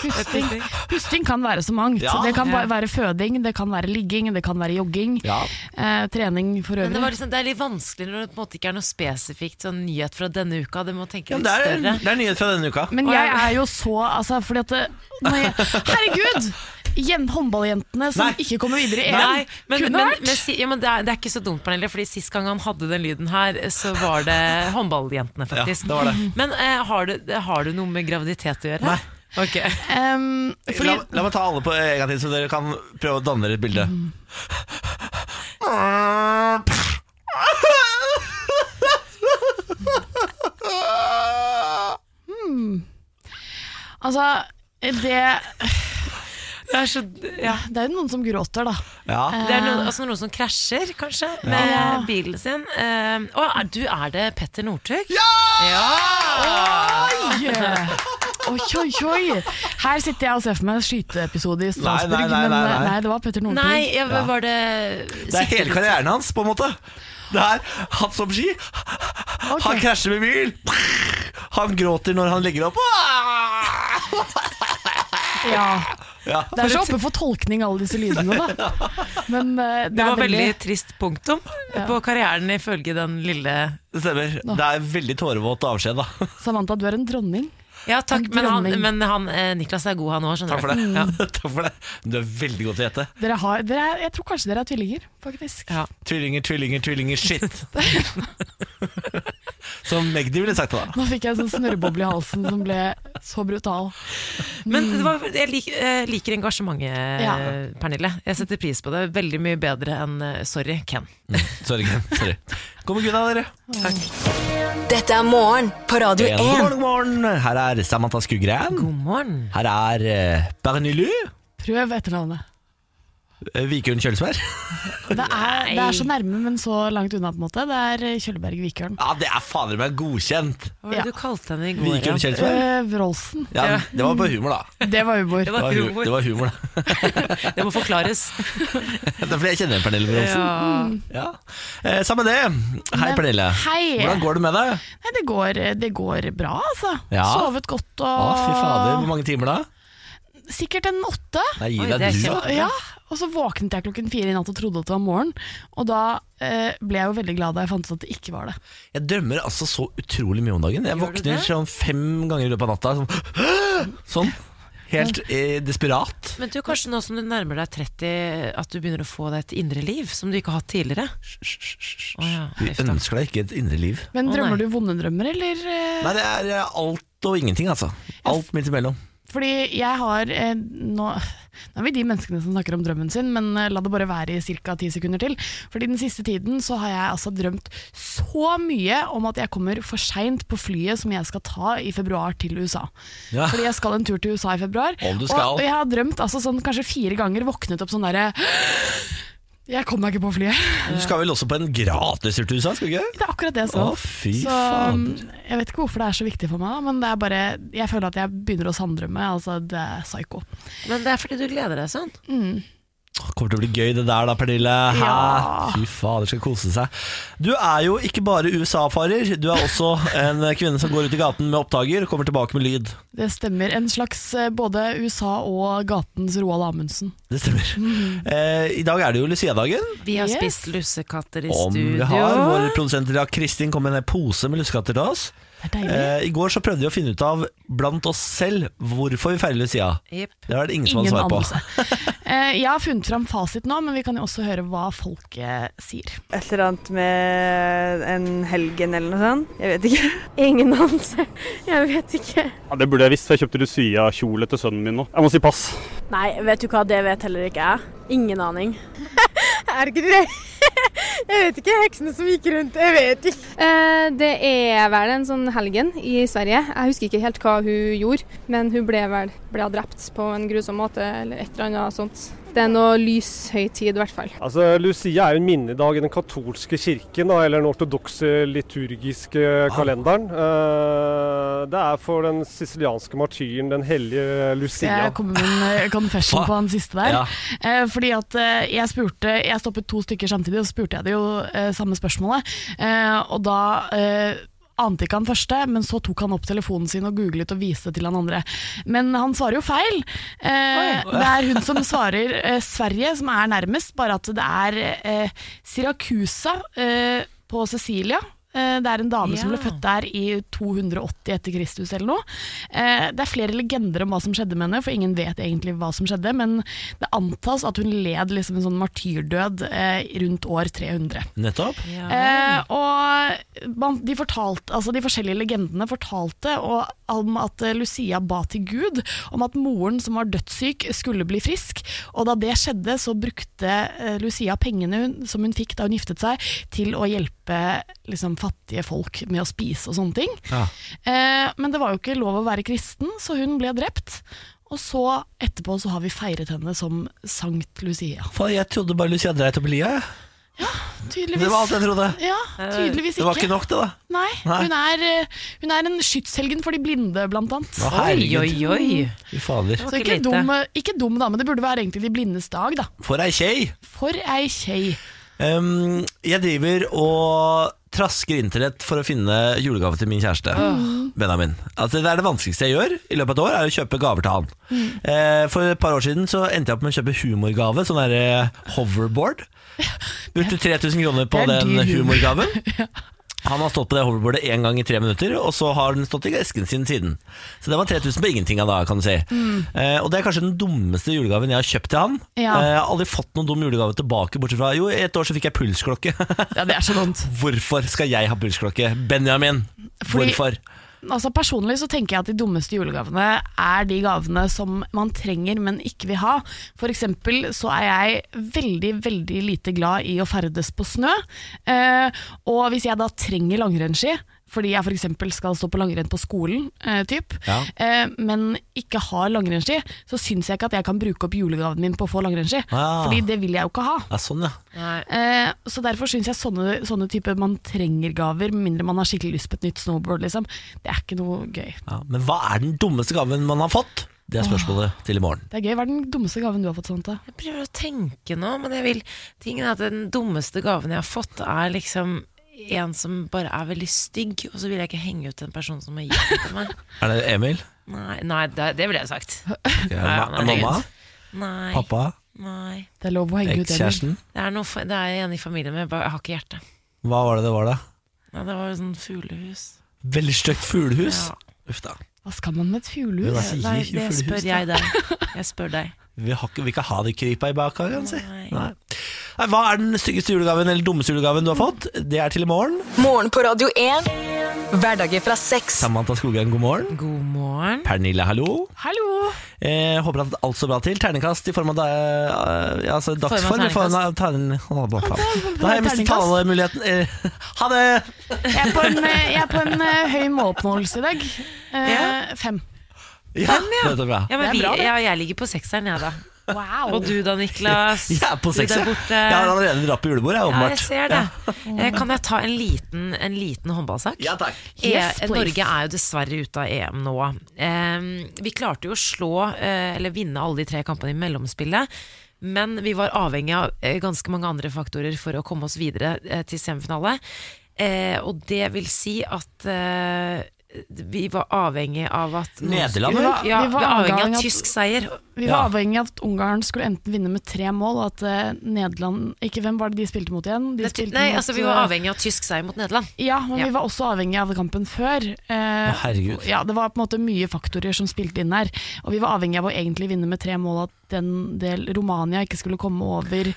Speaker 9: Pusting. Pusting kan være så mangt.
Speaker 1: Ja.
Speaker 9: Det kan
Speaker 2: Ja.
Speaker 9: ba- være føding, det kan være ligging, det kan være jogging.
Speaker 1: Ja.
Speaker 9: Eh, trening for
Speaker 2: Men det, var
Speaker 9: øvrig.
Speaker 2: liksom, det er litt vanskelig når det på en måte ikke er noe spesifikt sånn nyhet fra denne uka. Det må tenke
Speaker 1: Ja,
Speaker 2: litt
Speaker 1: det, er,
Speaker 2: større.
Speaker 1: det er nyhet fra denne uka.
Speaker 9: Men
Speaker 2: Å,
Speaker 9: jeg
Speaker 2: ja.
Speaker 9: er jo så altså, fordi at det- når jeg, Herregud! Jen, håndballjentene som
Speaker 1: Nei.
Speaker 9: ikke kommer videre i
Speaker 2: Nei,
Speaker 9: EM.
Speaker 2: men,
Speaker 9: Kunne
Speaker 2: men,
Speaker 9: vært.
Speaker 2: men, si- ja, men det, er, det er ikke så dumt, Pernille, Fordi sist gang han hadde den lyden her, så var det håndballjentene, faktisk.
Speaker 1: Ja, det var det.
Speaker 2: Men eh, har, du, har du noe med graviditet å gjøre?
Speaker 1: Nei.
Speaker 2: Ok.
Speaker 9: Ehm, fordi,
Speaker 1: La, la meg ta alle på en gang til, så dere kan prøve å danne dere et bilde.
Speaker 9: Mm. altså, det,
Speaker 2: Det er, så, ja.
Speaker 9: det er jo noen som gråter, da.
Speaker 1: Ja.
Speaker 2: det er noen, altså noen som krasjer, kanskje, med bilen sin. Eh, Å, er, du, er det Petter Northug? Ja!
Speaker 9: Eh. Oi! Oi, oi, oi. Her sitter jeg og ser for meg en skyteepisode i Strasbourg,
Speaker 1: nei, nei,
Speaker 9: men
Speaker 1: nei,
Speaker 9: eh,
Speaker 1: nei.
Speaker 9: nei, det var Petter Northug.
Speaker 2: Nei, jeg, var det
Speaker 1: Det er hele karrieren hans, på en måte. Det er hatt som ski. Han krasjer med bil. Han gråter når han legger opp.
Speaker 9: Ja.
Speaker 1: Ja.
Speaker 9: Det er så oppe for tolkning, alle disse lydene, da. Men eh, det,
Speaker 2: Det var
Speaker 9: er
Speaker 2: veldig trist punktum på karrieren ifølge den lille
Speaker 1: Det stemmer. Det er veldig tårevåt avskjed, da.
Speaker 9: Samantha, du er en dronning.
Speaker 2: Ja, takk,
Speaker 9: En
Speaker 2: men, han,
Speaker 9: dronning.
Speaker 2: men han, eh, Niklas er god, han òg, skjønner
Speaker 1: Takk for det. Takk for det. Du er veldig god til å gjette.
Speaker 9: Dere har, dere er, jeg tror kanskje dere er tvillinger, faktisk.
Speaker 2: Ja.
Speaker 1: Tvillinger, tvillinger, tvillinger, shit. Som Magdi ville sagt til deg.
Speaker 9: Nå fikk jeg en sånn snørreboble i halsen som ble så brutal.
Speaker 2: Men det var, jeg lik, eh, liker engasjementet, eh,
Speaker 9: Ja.
Speaker 2: Pernille. Jeg setter pris på det. Veldig mye bedre enn eh, sorry, Ken.
Speaker 1: Mm, Sorry. Ken. Sorry. God morgen, dere.
Speaker 3: Dette er morgen på Radio
Speaker 1: En god morgen,
Speaker 3: 1.
Speaker 1: god morgen. Her er Samantha Skugran.
Speaker 2: God morgen.
Speaker 1: Her er eh, Bernilu.
Speaker 9: Prøv etternavnet.
Speaker 1: eh, Vikund Kjølsberg.
Speaker 9: Det er, det er så nærme, men så langt unna, på en måte. Det er eh, Kjølberg Vikørn.
Speaker 1: Ja, det er fader meg godkjent.
Speaker 2: Hva var det
Speaker 9: Ja.
Speaker 2: du kalte henne i går?
Speaker 1: Vikund
Speaker 2: igjen?
Speaker 1: Kjølsberg.
Speaker 9: Eh, Wroldsen.
Speaker 1: Ja, det var på humor, da.
Speaker 9: Det var humor.
Speaker 2: Det
Speaker 1: Det
Speaker 2: var
Speaker 1: var, hu det
Speaker 2: humor.
Speaker 1: var humor, da.
Speaker 2: Det må forklares.
Speaker 1: Det er fordi jeg kjenner Pernille Bronsen.
Speaker 2: Ja.
Speaker 1: Ja. Eh, samme det. Hei,
Speaker 9: Men-
Speaker 1: Pernille.
Speaker 9: Hei.
Speaker 1: Hvordan går det med deg?
Speaker 9: Nei, det går, det går bra, altså.
Speaker 1: Ja.
Speaker 9: Sovet godt
Speaker 1: Å, fy fader. Hvor
Speaker 9: og
Speaker 1: mange timer da?
Speaker 9: Sikkert en åtte.
Speaker 1: Nei,
Speaker 2: Oi,
Speaker 1: gi
Speaker 2: det
Speaker 1: deg
Speaker 2: er
Speaker 1: du, da.
Speaker 2: kjempe-
Speaker 9: Ja, og så våknet jeg klokken fire i natt og trodde at det var morgen. Og da eh, ble jeg jo veldig glad da jeg fant ut at det ikke var det.
Speaker 1: Jeg drømmer altså så utrolig mye om dagen. Jeg
Speaker 2: Gjør du
Speaker 1: våkner
Speaker 2: det?
Speaker 1: sånn fem ganger i løpet av natta. Sånn. sånn. Helt eh, desperat.
Speaker 2: Men du, kanskje nå som du nærmer deg 30, at du begynner å få deg et indre liv som du ikke har hatt tidligere? Å ja,
Speaker 1: Du
Speaker 2: uff da.
Speaker 1: ønsker deg ikke et indre liv.
Speaker 9: Men
Speaker 2: Å,
Speaker 9: drømmer
Speaker 2: nei.
Speaker 9: du vonde drømmer, eller? eh?
Speaker 1: Nei, det er eh, alt og ingenting, altså. Alt midt imellom.
Speaker 9: Fordi jeg har eh, nå, nå er vi de menneskene som snakker om drømmen sin, men eh, la det bare være i ca. ti sekunder til. Fordi den siste tiden så har jeg altså drømt så mye om at jeg kommer for seint på flyet som jeg skal ta i februar til USA.
Speaker 1: Ja.
Speaker 9: Fordi jeg skal en tur til USA i februar.
Speaker 1: Om du
Speaker 9: og-
Speaker 1: skal.
Speaker 9: Og jeg har drømt altså sånn kanskje fire ganger, våknet opp sånn derre Jeg kom meg ikke på flyet.
Speaker 1: Du skal vel også på en gratistur til USA, skal du ikke? det?
Speaker 9: Det er akkurat det jeg skal.
Speaker 1: Å, fy
Speaker 9: så
Speaker 1: fader.
Speaker 9: mm, jeg vet ikke hvorfor det er så viktig for meg, da, men det er bare, jeg føler at jeg begynner å sanndrømme. Altså, det er psyko.
Speaker 2: Men det er fordi du gleder deg sånn.
Speaker 1: Åh, Kommer til å bli gøy det der da, Pernille. Hæ?
Speaker 9: Ja.
Speaker 1: Fy fader, skal kose seg. Du er jo ikke bare USA-farer. Du er også en kvinne som går ut i gaten med oppdager og kommer tilbake med lyd.
Speaker 9: Det stemmer. En slags eh, både USA og gatens Roald Amundsen.
Speaker 1: Det stemmer. Eh, I dag er det jo Lucia-dagen.
Speaker 2: Vi har
Speaker 9: Yes.
Speaker 2: spist lussekatter i
Speaker 1: Om
Speaker 2: studio.
Speaker 1: vi har. Vår produsent Lea Kristin kom med en pose med lussekatter til oss.
Speaker 9: Det er deilig.
Speaker 1: Eh, I går så prøvde vi å finne ut av blant oss selv hvorfor vi feirer Lucia.
Speaker 2: Jepp.
Speaker 1: Det var det ingen som hadde
Speaker 9: Ingen
Speaker 1: svar på.
Speaker 9: anelse. Eh, jeg har funnet fram fasit nå, men vi kan jo også høre hva folket sier.
Speaker 6: Et eller annet med en helgen eller noe sånt. Jeg vet ikke.
Speaker 10: Ingen anelse. Jeg vet ikke.
Speaker 11: Ja, det burde jeg visst, for jeg kjøpte Lucia-kjole til sønnen min nå. Jeg må si pass.
Speaker 10: Nei, vet du hva, det vet heller ikke jeg. Ingen aning. er ikke det Jeg vet ikke. Heksene som gikk rundt. Jeg vet ikke. Eh, det er vel en sånn helgen i Sverige. Jeg husker ikke helt hva hun gjorde, men hun ble vel ble drept på en grusom måte eller et eller annet sånt. Det er noe lyshøytid, i hvert fall.
Speaker 11: Altså, Lucia er jo en minnedag i den katolske kirken, da, eller den ortodokse liturgiske
Speaker 9: Ah.
Speaker 11: kalenderen. Eh, det er for den sicilianske martyren, den hellige
Speaker 9: Skal
Speaker 11: Lucia.
Speaker 9: jeg komme med en eh, confession
Speaker 1: Hva?
Speaker 9: på han siste der?
Speaker 1: Ja.
Speaker 9: Eh, fordi at eh, jeg spurte Jeg stoppet to stykker samtidig, og så spurte jeg det jo eh, samme spørsmålet. Eh, og da eh, ante ikke han første, men så tok han opp telefonen sin og googlet og viste det til han andre. Men han svarer jo feil. Eh, det er hun som svarer eh, Sverige, som er nærmest, bare at det er eh, Siracusa eh, på Cecilia. Eh, Det er en dame som
Speaker 2: Ja.
Speaker 9: ble født der i 280 etter Kristus eller noe. Eh, Det er flere legender om hva som skjedde med henne, for ingen vet egentlig hva som skjedde, men det antas at hun led liksom en sånn martyrdød eh, rundt år 300.
Speaker 1: Nettopp.
Speaker 2: Ja.
Speaker 9: Eh, og man, de, fortalte, altså de forskjellige legendene fortalte og, om at eh, Lucia ba til Gud om at moren som var dødssyk skulle bli frisk. Og da det skjedde, så brukte eh, Lucia pengene hun, som hun fikk da hun giftet seg, til å hjelpe liksom, fattige folk med å spise og sånne ting.
Speaker 1: Ja.
Speaker 9: Eh, men det var jo ikke lov å være kristen, så hun ble drept. Og så etterpå så har vi feiret henne som Sankt Lucia.
Speaker 1: Faen, jeg trodde bare Lucia dreit opp i lia. jeg.
Speaker 9: Tydeligvis.
Speaker 1: Det var alt jeg trodde.
Speaker 9: Ja, tydeligvis
Speaker 1: Det var ikke nok, det, da.
Speaker 9: Nei,
Speaker 1: Nei.
Speaker 9: Hun, er, eh, hun er en skytshelgen for de blinde, blant annet.
Speaker 1: Å,
Speaker 2: Oi,
Speaker 1: herregud.
Speaker 2: oi, oi.
Speaker 1: Fy fader.
Speaker 9: Så
Speaker 2: var ikke
Speaker 9: ikke
Speaker 2: lite.
Speaker 9: dum, eh, ikke dum dame, det burde være egentlig de blindes dag, da.
Speaker 1: For ei kjei.
Speaker 9: For ei kjei.
Speaker 1: Um, jeg driver og trasker internett for å finne julegave til min kjæreste. Benjamin. Altså, det er det vanskeligste jeg gjør i løpet av et år, er å kjøpe gaver til han.
Speaker 9: Mm.
Speaker 1: Eh, for et par år siden så endte jeg opp med å kjøpe humorgave, sånn der eh, hoverboard. Brukte 3000 kroner på
Speaker 9: Det er
Speaker 1: den
Speaker 9: dyr humor.
Speaker 1: humorgaven. Han har stått på det hoverboardet én gang i tre minutter, og så har den stått i esken sin siden. Så det var 3000 på ingenting av da, kan du si.
Speaker 9: Mm.
Speaker 1: Eh, og det er kanskje den dummeste julegaven jeg har kjøpt til han.
Speaker 9: Ja.
Speaker 1: Eh, jeg har aldri fått noen dum julegave tilbake, bortsett fra jo, i et år så fikk jeg pulsklokke.
Speaker 9: ja, det er så dumt.
Speaker 1: Hvorfor skal jeg ha pulsklokke? Benjamin,
Speaker 9: Fordi-
Speaker 1: hvorfor?
Speaker 9: Altså Personlig så tenker jeg at de dummeste julegavene er de gavene som man trenger, men ikke vil ha. For eksempel så er jeg veldig, veldig lite glad i å ferdes på snø. Eh, og hvis jeg da trenger langrennsski, fordi jeg f.eks. skal stå på langrenn på skolen, eh, typ,
Speaker 12: Ja.
Speaker 9: eh, men ikke har langrennsski, så syns jeg ikke at jeg kan bruke opp julegaven min på å få langrennsski.
Speaker 1: Ah.
Speaker 9: Fordi det vil jeg jo ikke ha.
Speaker 1: Ja, sånn, ja.
Speaker 9: Eh, så derfor syns jeg sånne, sånne typer man trenger gaver, med mindre man har skikkelig lyst på et nytt snowboard, liksom. Det er ikke noe gøy.
Speaker 1: ja. Men hva er den dummeste gaven man har fått? Det er spørsmålet til i morgen.
Speaker 9: Det er gøy. Hva er den dummeste gaven du har fått, Svante?
Speaker 2: Jeg prøver å tenke nå, men jeg vil Tingen er at den dummeste gaven jeg har fått, er liksom en som bare er veldig stygg, og så vil jeg ikke henge ut en person som har gitt den til meg.
Speaker 1: Er det Emil?
Speaker 2: Nei, nei det, det ville jeg sagt.
Speaker 1: Ja,
Speaker 2: Nei,
Speaker 1: ma-
Speaker 2: nei,
Speaker 1: mamma?
Speaker 2: Nei.
Speaker 1: Pappa?
Speaker 2: Nei.
Speaker 9: Det er lov å henge ut
Speaker 1: Ekskjæresten?
Speaker 2: Det er, noe, for- det er en i familien min, jeg bare- jeg har ikke hjerte.
Speaker 1: Hva var det det var, da?
Speaker 2: Nei, det var jo sånn fuglehus.
Speaker 1: Veldig stygt fuglehus? Uff da.
Speaker 9: Hva skal man med
Speaker 1: Men
Speaker 9: et
Speaker 1: hva
Speaker 9: fuglehus?
Speaker 1: sier
Speaker 2: Nei,
Speaker 1: fuglehus,
Speaker 2: det spør
Speaker 1: da?
Speaker 2: jeg deg. Jeg spør deg.
Speaker 1: Vi, har ikke, vi kan ha det krypa i bakhagen, si. Nei. Nei, hva er den styggeste julegaven eller dummeste julegaven du har fått? Det er til i morgen.
Speaker 3: Morgen på Radio 1. Hverdager fra seks.
Speaker 1: Samantha Skogheim, god morgen.
Speaker 2: God morgen.
Speaker 1: Pernille, hallo.
Speaker 9: Hallo!
Speaker 1: Eh, håper at alt står bra til. Terningkast i form av da- eh, altså,
Speaker 2: Form av
Speaker 1: dagsform. i form av tern- Da har jeg mistet
Speaker 9: terningkast.
Speaker 1: talemuligheten. Eh, ha det!
Speaker 9: Jeg er på en, eh, jeg er på en eh, høy måloppnåelse i dag. Eh, Fem.
Speaker 1: Ja,
Speaker 2: Fem, ja.
Speaker 1: nettopp, ja.
Speaker 2: Ja, men
Speaker 1: Det
Speaker 2: vi,
Speaker 1: er bra, det.
Speaker 2: ja, jeg ligger på sekseren, jeg, da.
Speaker 9: Wow.
Speaker 2: Og du da, Niklas?
Speaker 1: Jeg er på
Speaker 2: Du der
Speaker 1: sekser.
Speaker 2: borte.
Speaker 1: Jeg har allerede dratt på julebordet, jeg,
Speaker 2: Ja, jeg
Speaker 1: åpenbart.
Speaker 2: ser det. Eh, Kan jeg ta en liten, en liten håndballsak?
Speaker 1: Ja, takk.
Speaker 2: E-
Speaker 1: Yes, please.
Speaker 2: Norge er jo dessverre ute av EM nå. Eh, Vi klarte jo å slå, eh, eller vinne alle de tre kampene i mellomspillet. Men vi var avhengig av eh, ganske mange andre faktorer for å komme oss videre eh, til semifinale. Eh, Og det vil si at eh, vi var avhengig av at noen skulle-
Speaker 9: Vi var,
Speaker 2: Ja,
Speaker 9: vi var
Speaker 2: avhengig
Speaker 9: avhengig
Speaker 2: av tysk seier.
Speaker 9: Vi var avhengig av at Ungarn skulle enten vinne med tre mål, og at eh, Nederland Ikke hvem var det de spilte mot igjen? De spilte
Speaker 2: Nei,
Speaker 9: mot, eh,
Speaker 2: altså vi var avhengig av tysk seier mot Nederland.
Speaker 9: Ja, men vi var også avhengig av kampen før. Eh,
Speaker 2: herregud.
Speaker 9: Ja, det var på en måte mye faktorer som spilte inn her. Og vi var avhengig av å egentlig vinne med tre mål, at den del Romania ikke skulle komme over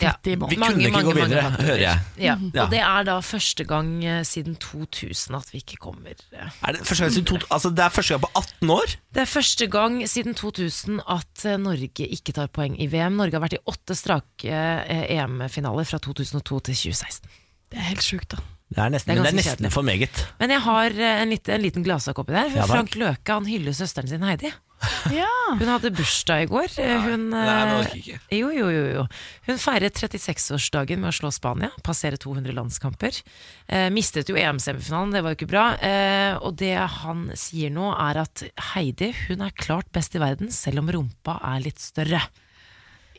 Speaker 9: 30 mål.
Speaker 1: Vi kunne ikke gå videre, hører jeg.
Speaker 2: Ja.
Speaker 1: Ja.
Speaker 2: Og det er da første gang eh, siden 2000 at vi ikke kommer eh.
Speaker 1: Er det, første gang siden to, altså, det er første gang på 18 år.
Speaker 2: Det er første gang siden 2000 at eh, Norge ikke tar poeng i VM. Norge har vært i åtte strake eh, EM-finaler fra 2002 til 2016.
Speaker 9: Det er helt sjukt, da.
Speaker 1: Det er nesten,
Speaker 2: Det er
Speaker 1: men det er
Speaker 2: ganske
Speaker 1: nesten
Speaker 2: kjedelig.
Speaker 1: for meget.
Speaker 2: Men jeg har eh, en liten, en liten gladsak oppi der.
Speaker 1: Ja, takk.
Speaker 2: Frank Løke han hyller søsteren sin Heidi. Hun hadde bursdag i går. Eh, Hun,
Speaker 1: nei, men
Speaker 2: eh,
Speaker 1: orker ikke.
Speaker 2: jo, jo, jo, jo. Hun feiret 36-årsdagen med å slå Spania, passere 200 landskamper. Eh, mistet jo EM-semifinalen, det var jo ikke bra. Eh, og det han sier nå, er at Heidi hun er klart best i verden, selv om rumpa er litt større.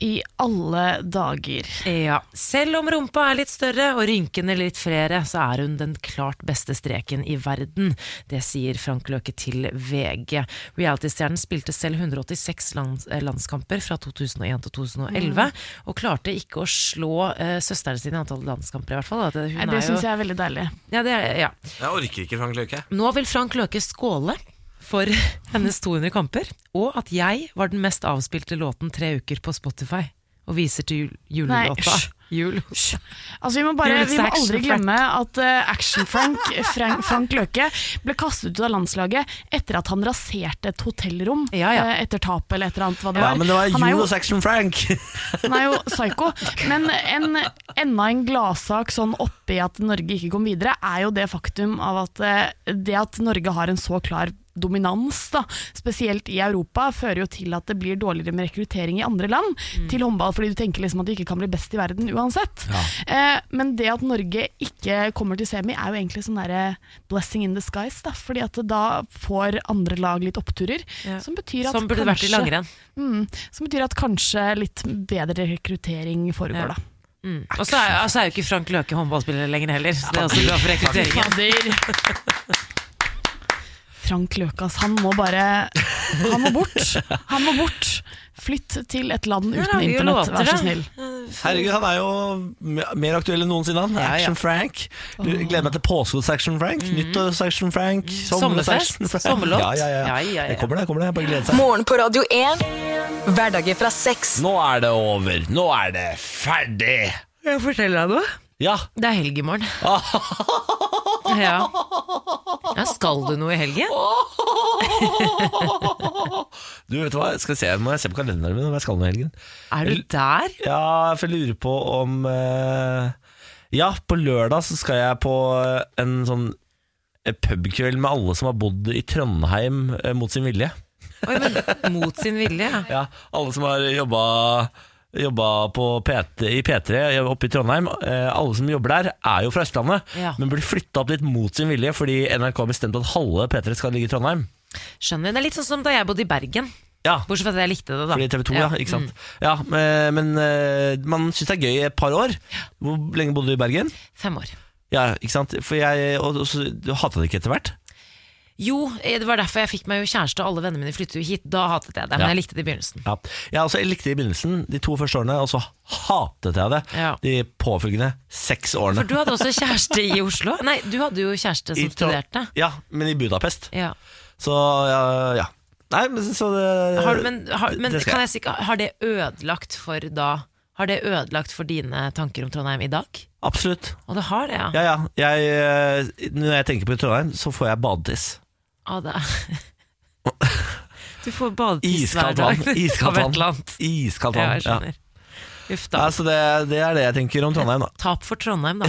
Speaker 9: I alle dager.
Speaker 2: Ja. Selv om rumpa er litt større og rynkene litt flere, så er hun den klart beste streken i verden. Det sier Frank Løke til VG. Reality-stjernen spilte selv 186 lands eh, landskamper fra 2001 til 2011,
Speaker 9: Mm.
Speaker 2: og klarte ikke å slå eh, søsteren sin i antall landskamper, i hvert fall. da. At hun
Speaker 9: Nei,
Speaker 2: er
Speaker 9: det
Speaker 2: jo-
Speaker 9: syns jeg er veldig deilig.
Speaker 2: Ja, det er, ja.
Speaker 1: Jeg orker ikke Frank Løke.
Speaker 2: Nå vil Frank Løke skåle for hennes 200 kamper, og at jeg var den mest avspilte låten tre uker på Spotify, og viser til jul
Speaker 9: Nei,
Speaker 2: julelåta.
Speaker 9: hysj.
Speaker 2: Jul.
Speaker 9: Altså, vi må, bare,
Speaker 2: Gjør
Speaker 9: vi må
Speaker 2: disse
Speaker 9: aldri
Speaker 2: action
Speaker 9: glemme at eh, Action-Frank Frank, Frank Løke ble kastet ut av landslaget etter at han raserte et hotellrom eh, etter tap eller et eller annet. Hva det
Speaker 1: Ja,
Speaker 9: var.
Speaker 1: men det var
Speaker 9: han, er
Speaker 1: jul
Speaker 9: jo,
Speaker 1: hos Action Frank.
Speaker 9: han er jo psyko. Men en, enda en gladsak sånn oppi at Norge ikke kom videre, er jo det faktum av at eh, det at Norge har en så klar dominans, da, spesielt i Europa, fører jo til at det blir dårligere med rekruttering i andre land
Speaker 2: Mm.
Speaker 9: til håndball, fordi du tenker liksom at du ikke kan bli best i verden uansett. Eh, men det at Norge ikke kommer til semi, er jo egentlig sånn derre blessing in disguise, da, fordi at da får andre lag litt oppturer,
Speaker 2: Ja.
Speaker 9: som betyr at
Speaker 2: Som burde vært i
Speaker 9: kanskje-
Speaker 2: langrenn.
Speaker 9: Mm, som betyr at kanskje litt bedre rekruttering
Speaker 2: Ja.
Speaker 9: foregår, da.
Speaker 2: Mm. Og så er, altså er jo ikke Frank Løke håndballspiller lenger heller. Så det er også bra for rekrutteringen.
Speaker 9: Frank Løkas, han må bare Han må bort! Han må bort! Flytt til et land
Speaker 2: Nå
Speaker 9: uten
Speaker 2: lager vi jo
Speaker 9: internett,
Speaker 2: låter,
Speaker 9: vær
Speaker 2: da.
Speaker 9: så snill.
Speaker 2: Eh,
Speaker 1: Herregud, han er jo me- mer aktuell enn noensinne, han. Action Frank. Du, jeg gleder meg til påske hos Action Frank. Nytt hos Action Frank. sommer hos
Speaker 2: Mm. Sommerfest,
Speaker 1: Action Frank.
Speaker 2: sommerlåt.
Speaker 1: Ja, ja, ja.
Speaker 2: Ja, ja, ja.
Speaker 1: Det kommer, det. kommer det. Bare glede seg.
Speaker 3: Morgen på Radio 1. Hverdager fra seks.
Speaker 1: Nå er det over. Nå er det ferdig.
Speaker 2: Kan jeg fortelle deg noe?
Speaker 1: Ja.
Speaker 2: Det er helg i morgen. ja. ja. Skal du noe i helgen?
Speaker 1: Du, vet du hva? Skal jeg se, må jeg se på kalenderen min hva jeg skal nå i helgen.
Speaker 2: Er du der?
Speaker 1: Ja, for jeg lurer på om eh, Ja, på lørdag så skal jeg på eh, en sånn eh, pubkveld med alle som har bodd i Trondheim eh, mot sin vilje.
Speaker 2: Oi, men mot sin vilje.
Speaker 1: Ja, alle som har jobba Jobba på PT, i P3 oppe i Trondheim. Eh, alle som jobber der, er jo fra Østlandet,
Speaker 2: Ja.
Speaker 1: men blir flytta opp dit mot sin vilje fordi NRK har bestemt at halve P3 skal ligge i Trondheim.
Speaker 2: Skjønner. Det er litt sånn som da jeg bodde i Bergen.
Speaker 1: Ja.
Speaker 2: Bortsett fra at jeg likte det, da.
Speaker 1: Fordi TV 2, ja. ikke sant? Ja, men, men eh, man syns det er gøy i et par år. Hvor lenge bodde du i Bergen?
Speaker 2: mm, Fem år.
Speaker 1: Ja, ikke sant? For jeg, og, og så hata det ikke etter hvert.
Speaker 2: Jo, eh, det var derfor jeg fikk meg jo kjæreste, og alle vennene mine flyttet jo hit. Da hatet jeg det, men
Speaker 1: Ja.
Speaker 2: jeg likte det i begynnelsen.
Speaker 1: Ja. altså, Jeg også likte det i begynnelsen, de to første årene, og så hatet jeg det
Speaker 2: Ja.
Speaker 1: de påfølgende seks årene.
Speaker 2: For du hadde også kjæreste i Oslo? Nei, du hadde jo kjæreste
Speaker 1: I
Speaker 2: som
Speaker 1: Tro-
Speaker 2: studerte.
Speaker 1: Ja, men i Budapest.
Speaker 2: Ja.
Speaker 1: Så ja, ja. Nei, men så det,
Speaker 2: Har, du- men har, men
Speaker 1: Eh, det skal
Speaker 2: kan
Speaker 1: jeg.
Speaker 2: jeg si, har det ødelagt for da Har det ødelagt for dine tanker om Trondheim i dag?
Speaker 1: Absolutt.
Speaker 2: Og det har det, ja.
Speaker 1: Ja, ja. Jeg, eh, når jeg tenker på Trondheim, så får jeg badetiss.
Speaker 2: Ja, det er- Du får badetiss hver
Speaker 1: Iskaldt
Speaker 2: dag.
Speaker 1: vann. Iskaldt vann. Iskaldt
Speaker 2: Av et eller annet. Ja,
Speaker 1: vann. Altså-
Speaker 2: jeg skjønner. Uff da.
Speaker 1: Ja, så det, det er det jeg tenker om Trondheim, da.
Speaker 2: Tap for Trondheim, da.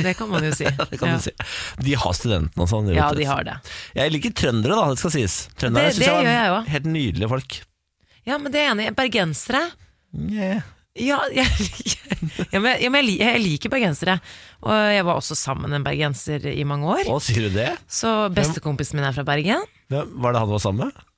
Speaker 2: Det kan man jo si.
Speaker 1: Det kan
Speaker 2: ja.
Speaker 1: du si. De har studentene og sånn.
Speaker 2: Ja,
Speaker 1: vet du.
Speaker 2: de har det.
Speaker 1: Jeg liker trøndere, da, det skal sies. Trøndere
Speaker 2: Det-
Speaker 1: synes
Speaker 2: det
Speaker 1: jeg
Speaker 2: gjør jeg
Speaker 1: var
Speaker 2: også.
Speaker 1: helt nydelige folk.
Speaker 2: Ja, men det er jeg enig i. Bergensere
Speaker 1: Yeah.
Speaker 2: Ja, jeg, liker- ja, men, ja, men jeg, li- jeg liker bergensere. Og jeg var også sammen med en bergenser i mange år.
Speaker 1: Å, sier du det?
Speaker 2: Så bestekompisen min er fra Bergen.
Speaker 1: Hvem var det han var sammen
Speaker 2: Eh,
Speaker 1: med?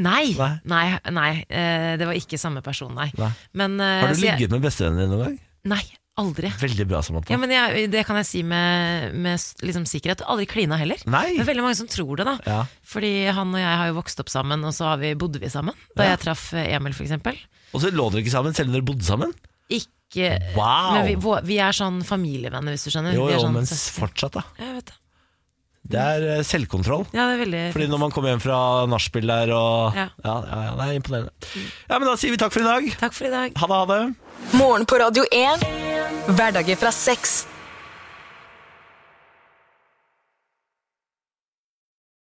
Speaker 2: Nei, nei,
Speaker 1: Nei.
Speaker 2: nei, eh, det var ikke samme person, nei.
Speaker 1: Nei.
Speaker 2: Men, eh,
Speaker 1: Har du
Speaker 2: så jeg-
Speaker 1: ligget med bestevennen din noen gang?
Speaker 2: Nei, aldri.
Speaker 1: Veldig bra, Samantha.
Speaker 2: Ja, men jeg, det kan jeg si med, med s- liksom, sikkerhet. Aldri klina heller.
Speaker 1: Nei.
Speaker 2: Det er veldig mange som tror det, da.
Speaker 1: Ja.
Speaker 2: Fordi han og jeg har jo vokst opp sammen, og så har vi, bodde vi sammen. Da jeg traff eh, Emil, for eksempel.
Speaker 1: Og så lå dere ikke sammen, selv om dere bodde sammen?
Speaker 2: Ikke
Speaker 1: Wow!
Speaker 2: Men vi, vå- vi er sånn familievenner, hvis du skjønner.
Speaker 1: Jo,
Speaker 2: vi er
Speaker 1: jo,
Speaker 2: sånn,
Speaker 1: men
Speaker 2: søs-
Speaker 1: fortsatt, da.
Speaker 2: Jeg vet det.
Speaker 1: Det er eh, selvkontroll.
Speaker 2: Ja, det er veldig
Speaker 1: Fordi når man kommer hjem fra nachspiel der og ja.
Speaker 2: Ja.
Speaker 1: Ja, ja, det er imponerende. Ja, men da sier vi takk for i dag.
Speaker 2: Takk for i dag.
Speaker 1: Ha det, ha det.
Speaker 3: Morgen på Radio 1. Hverdager fra seks.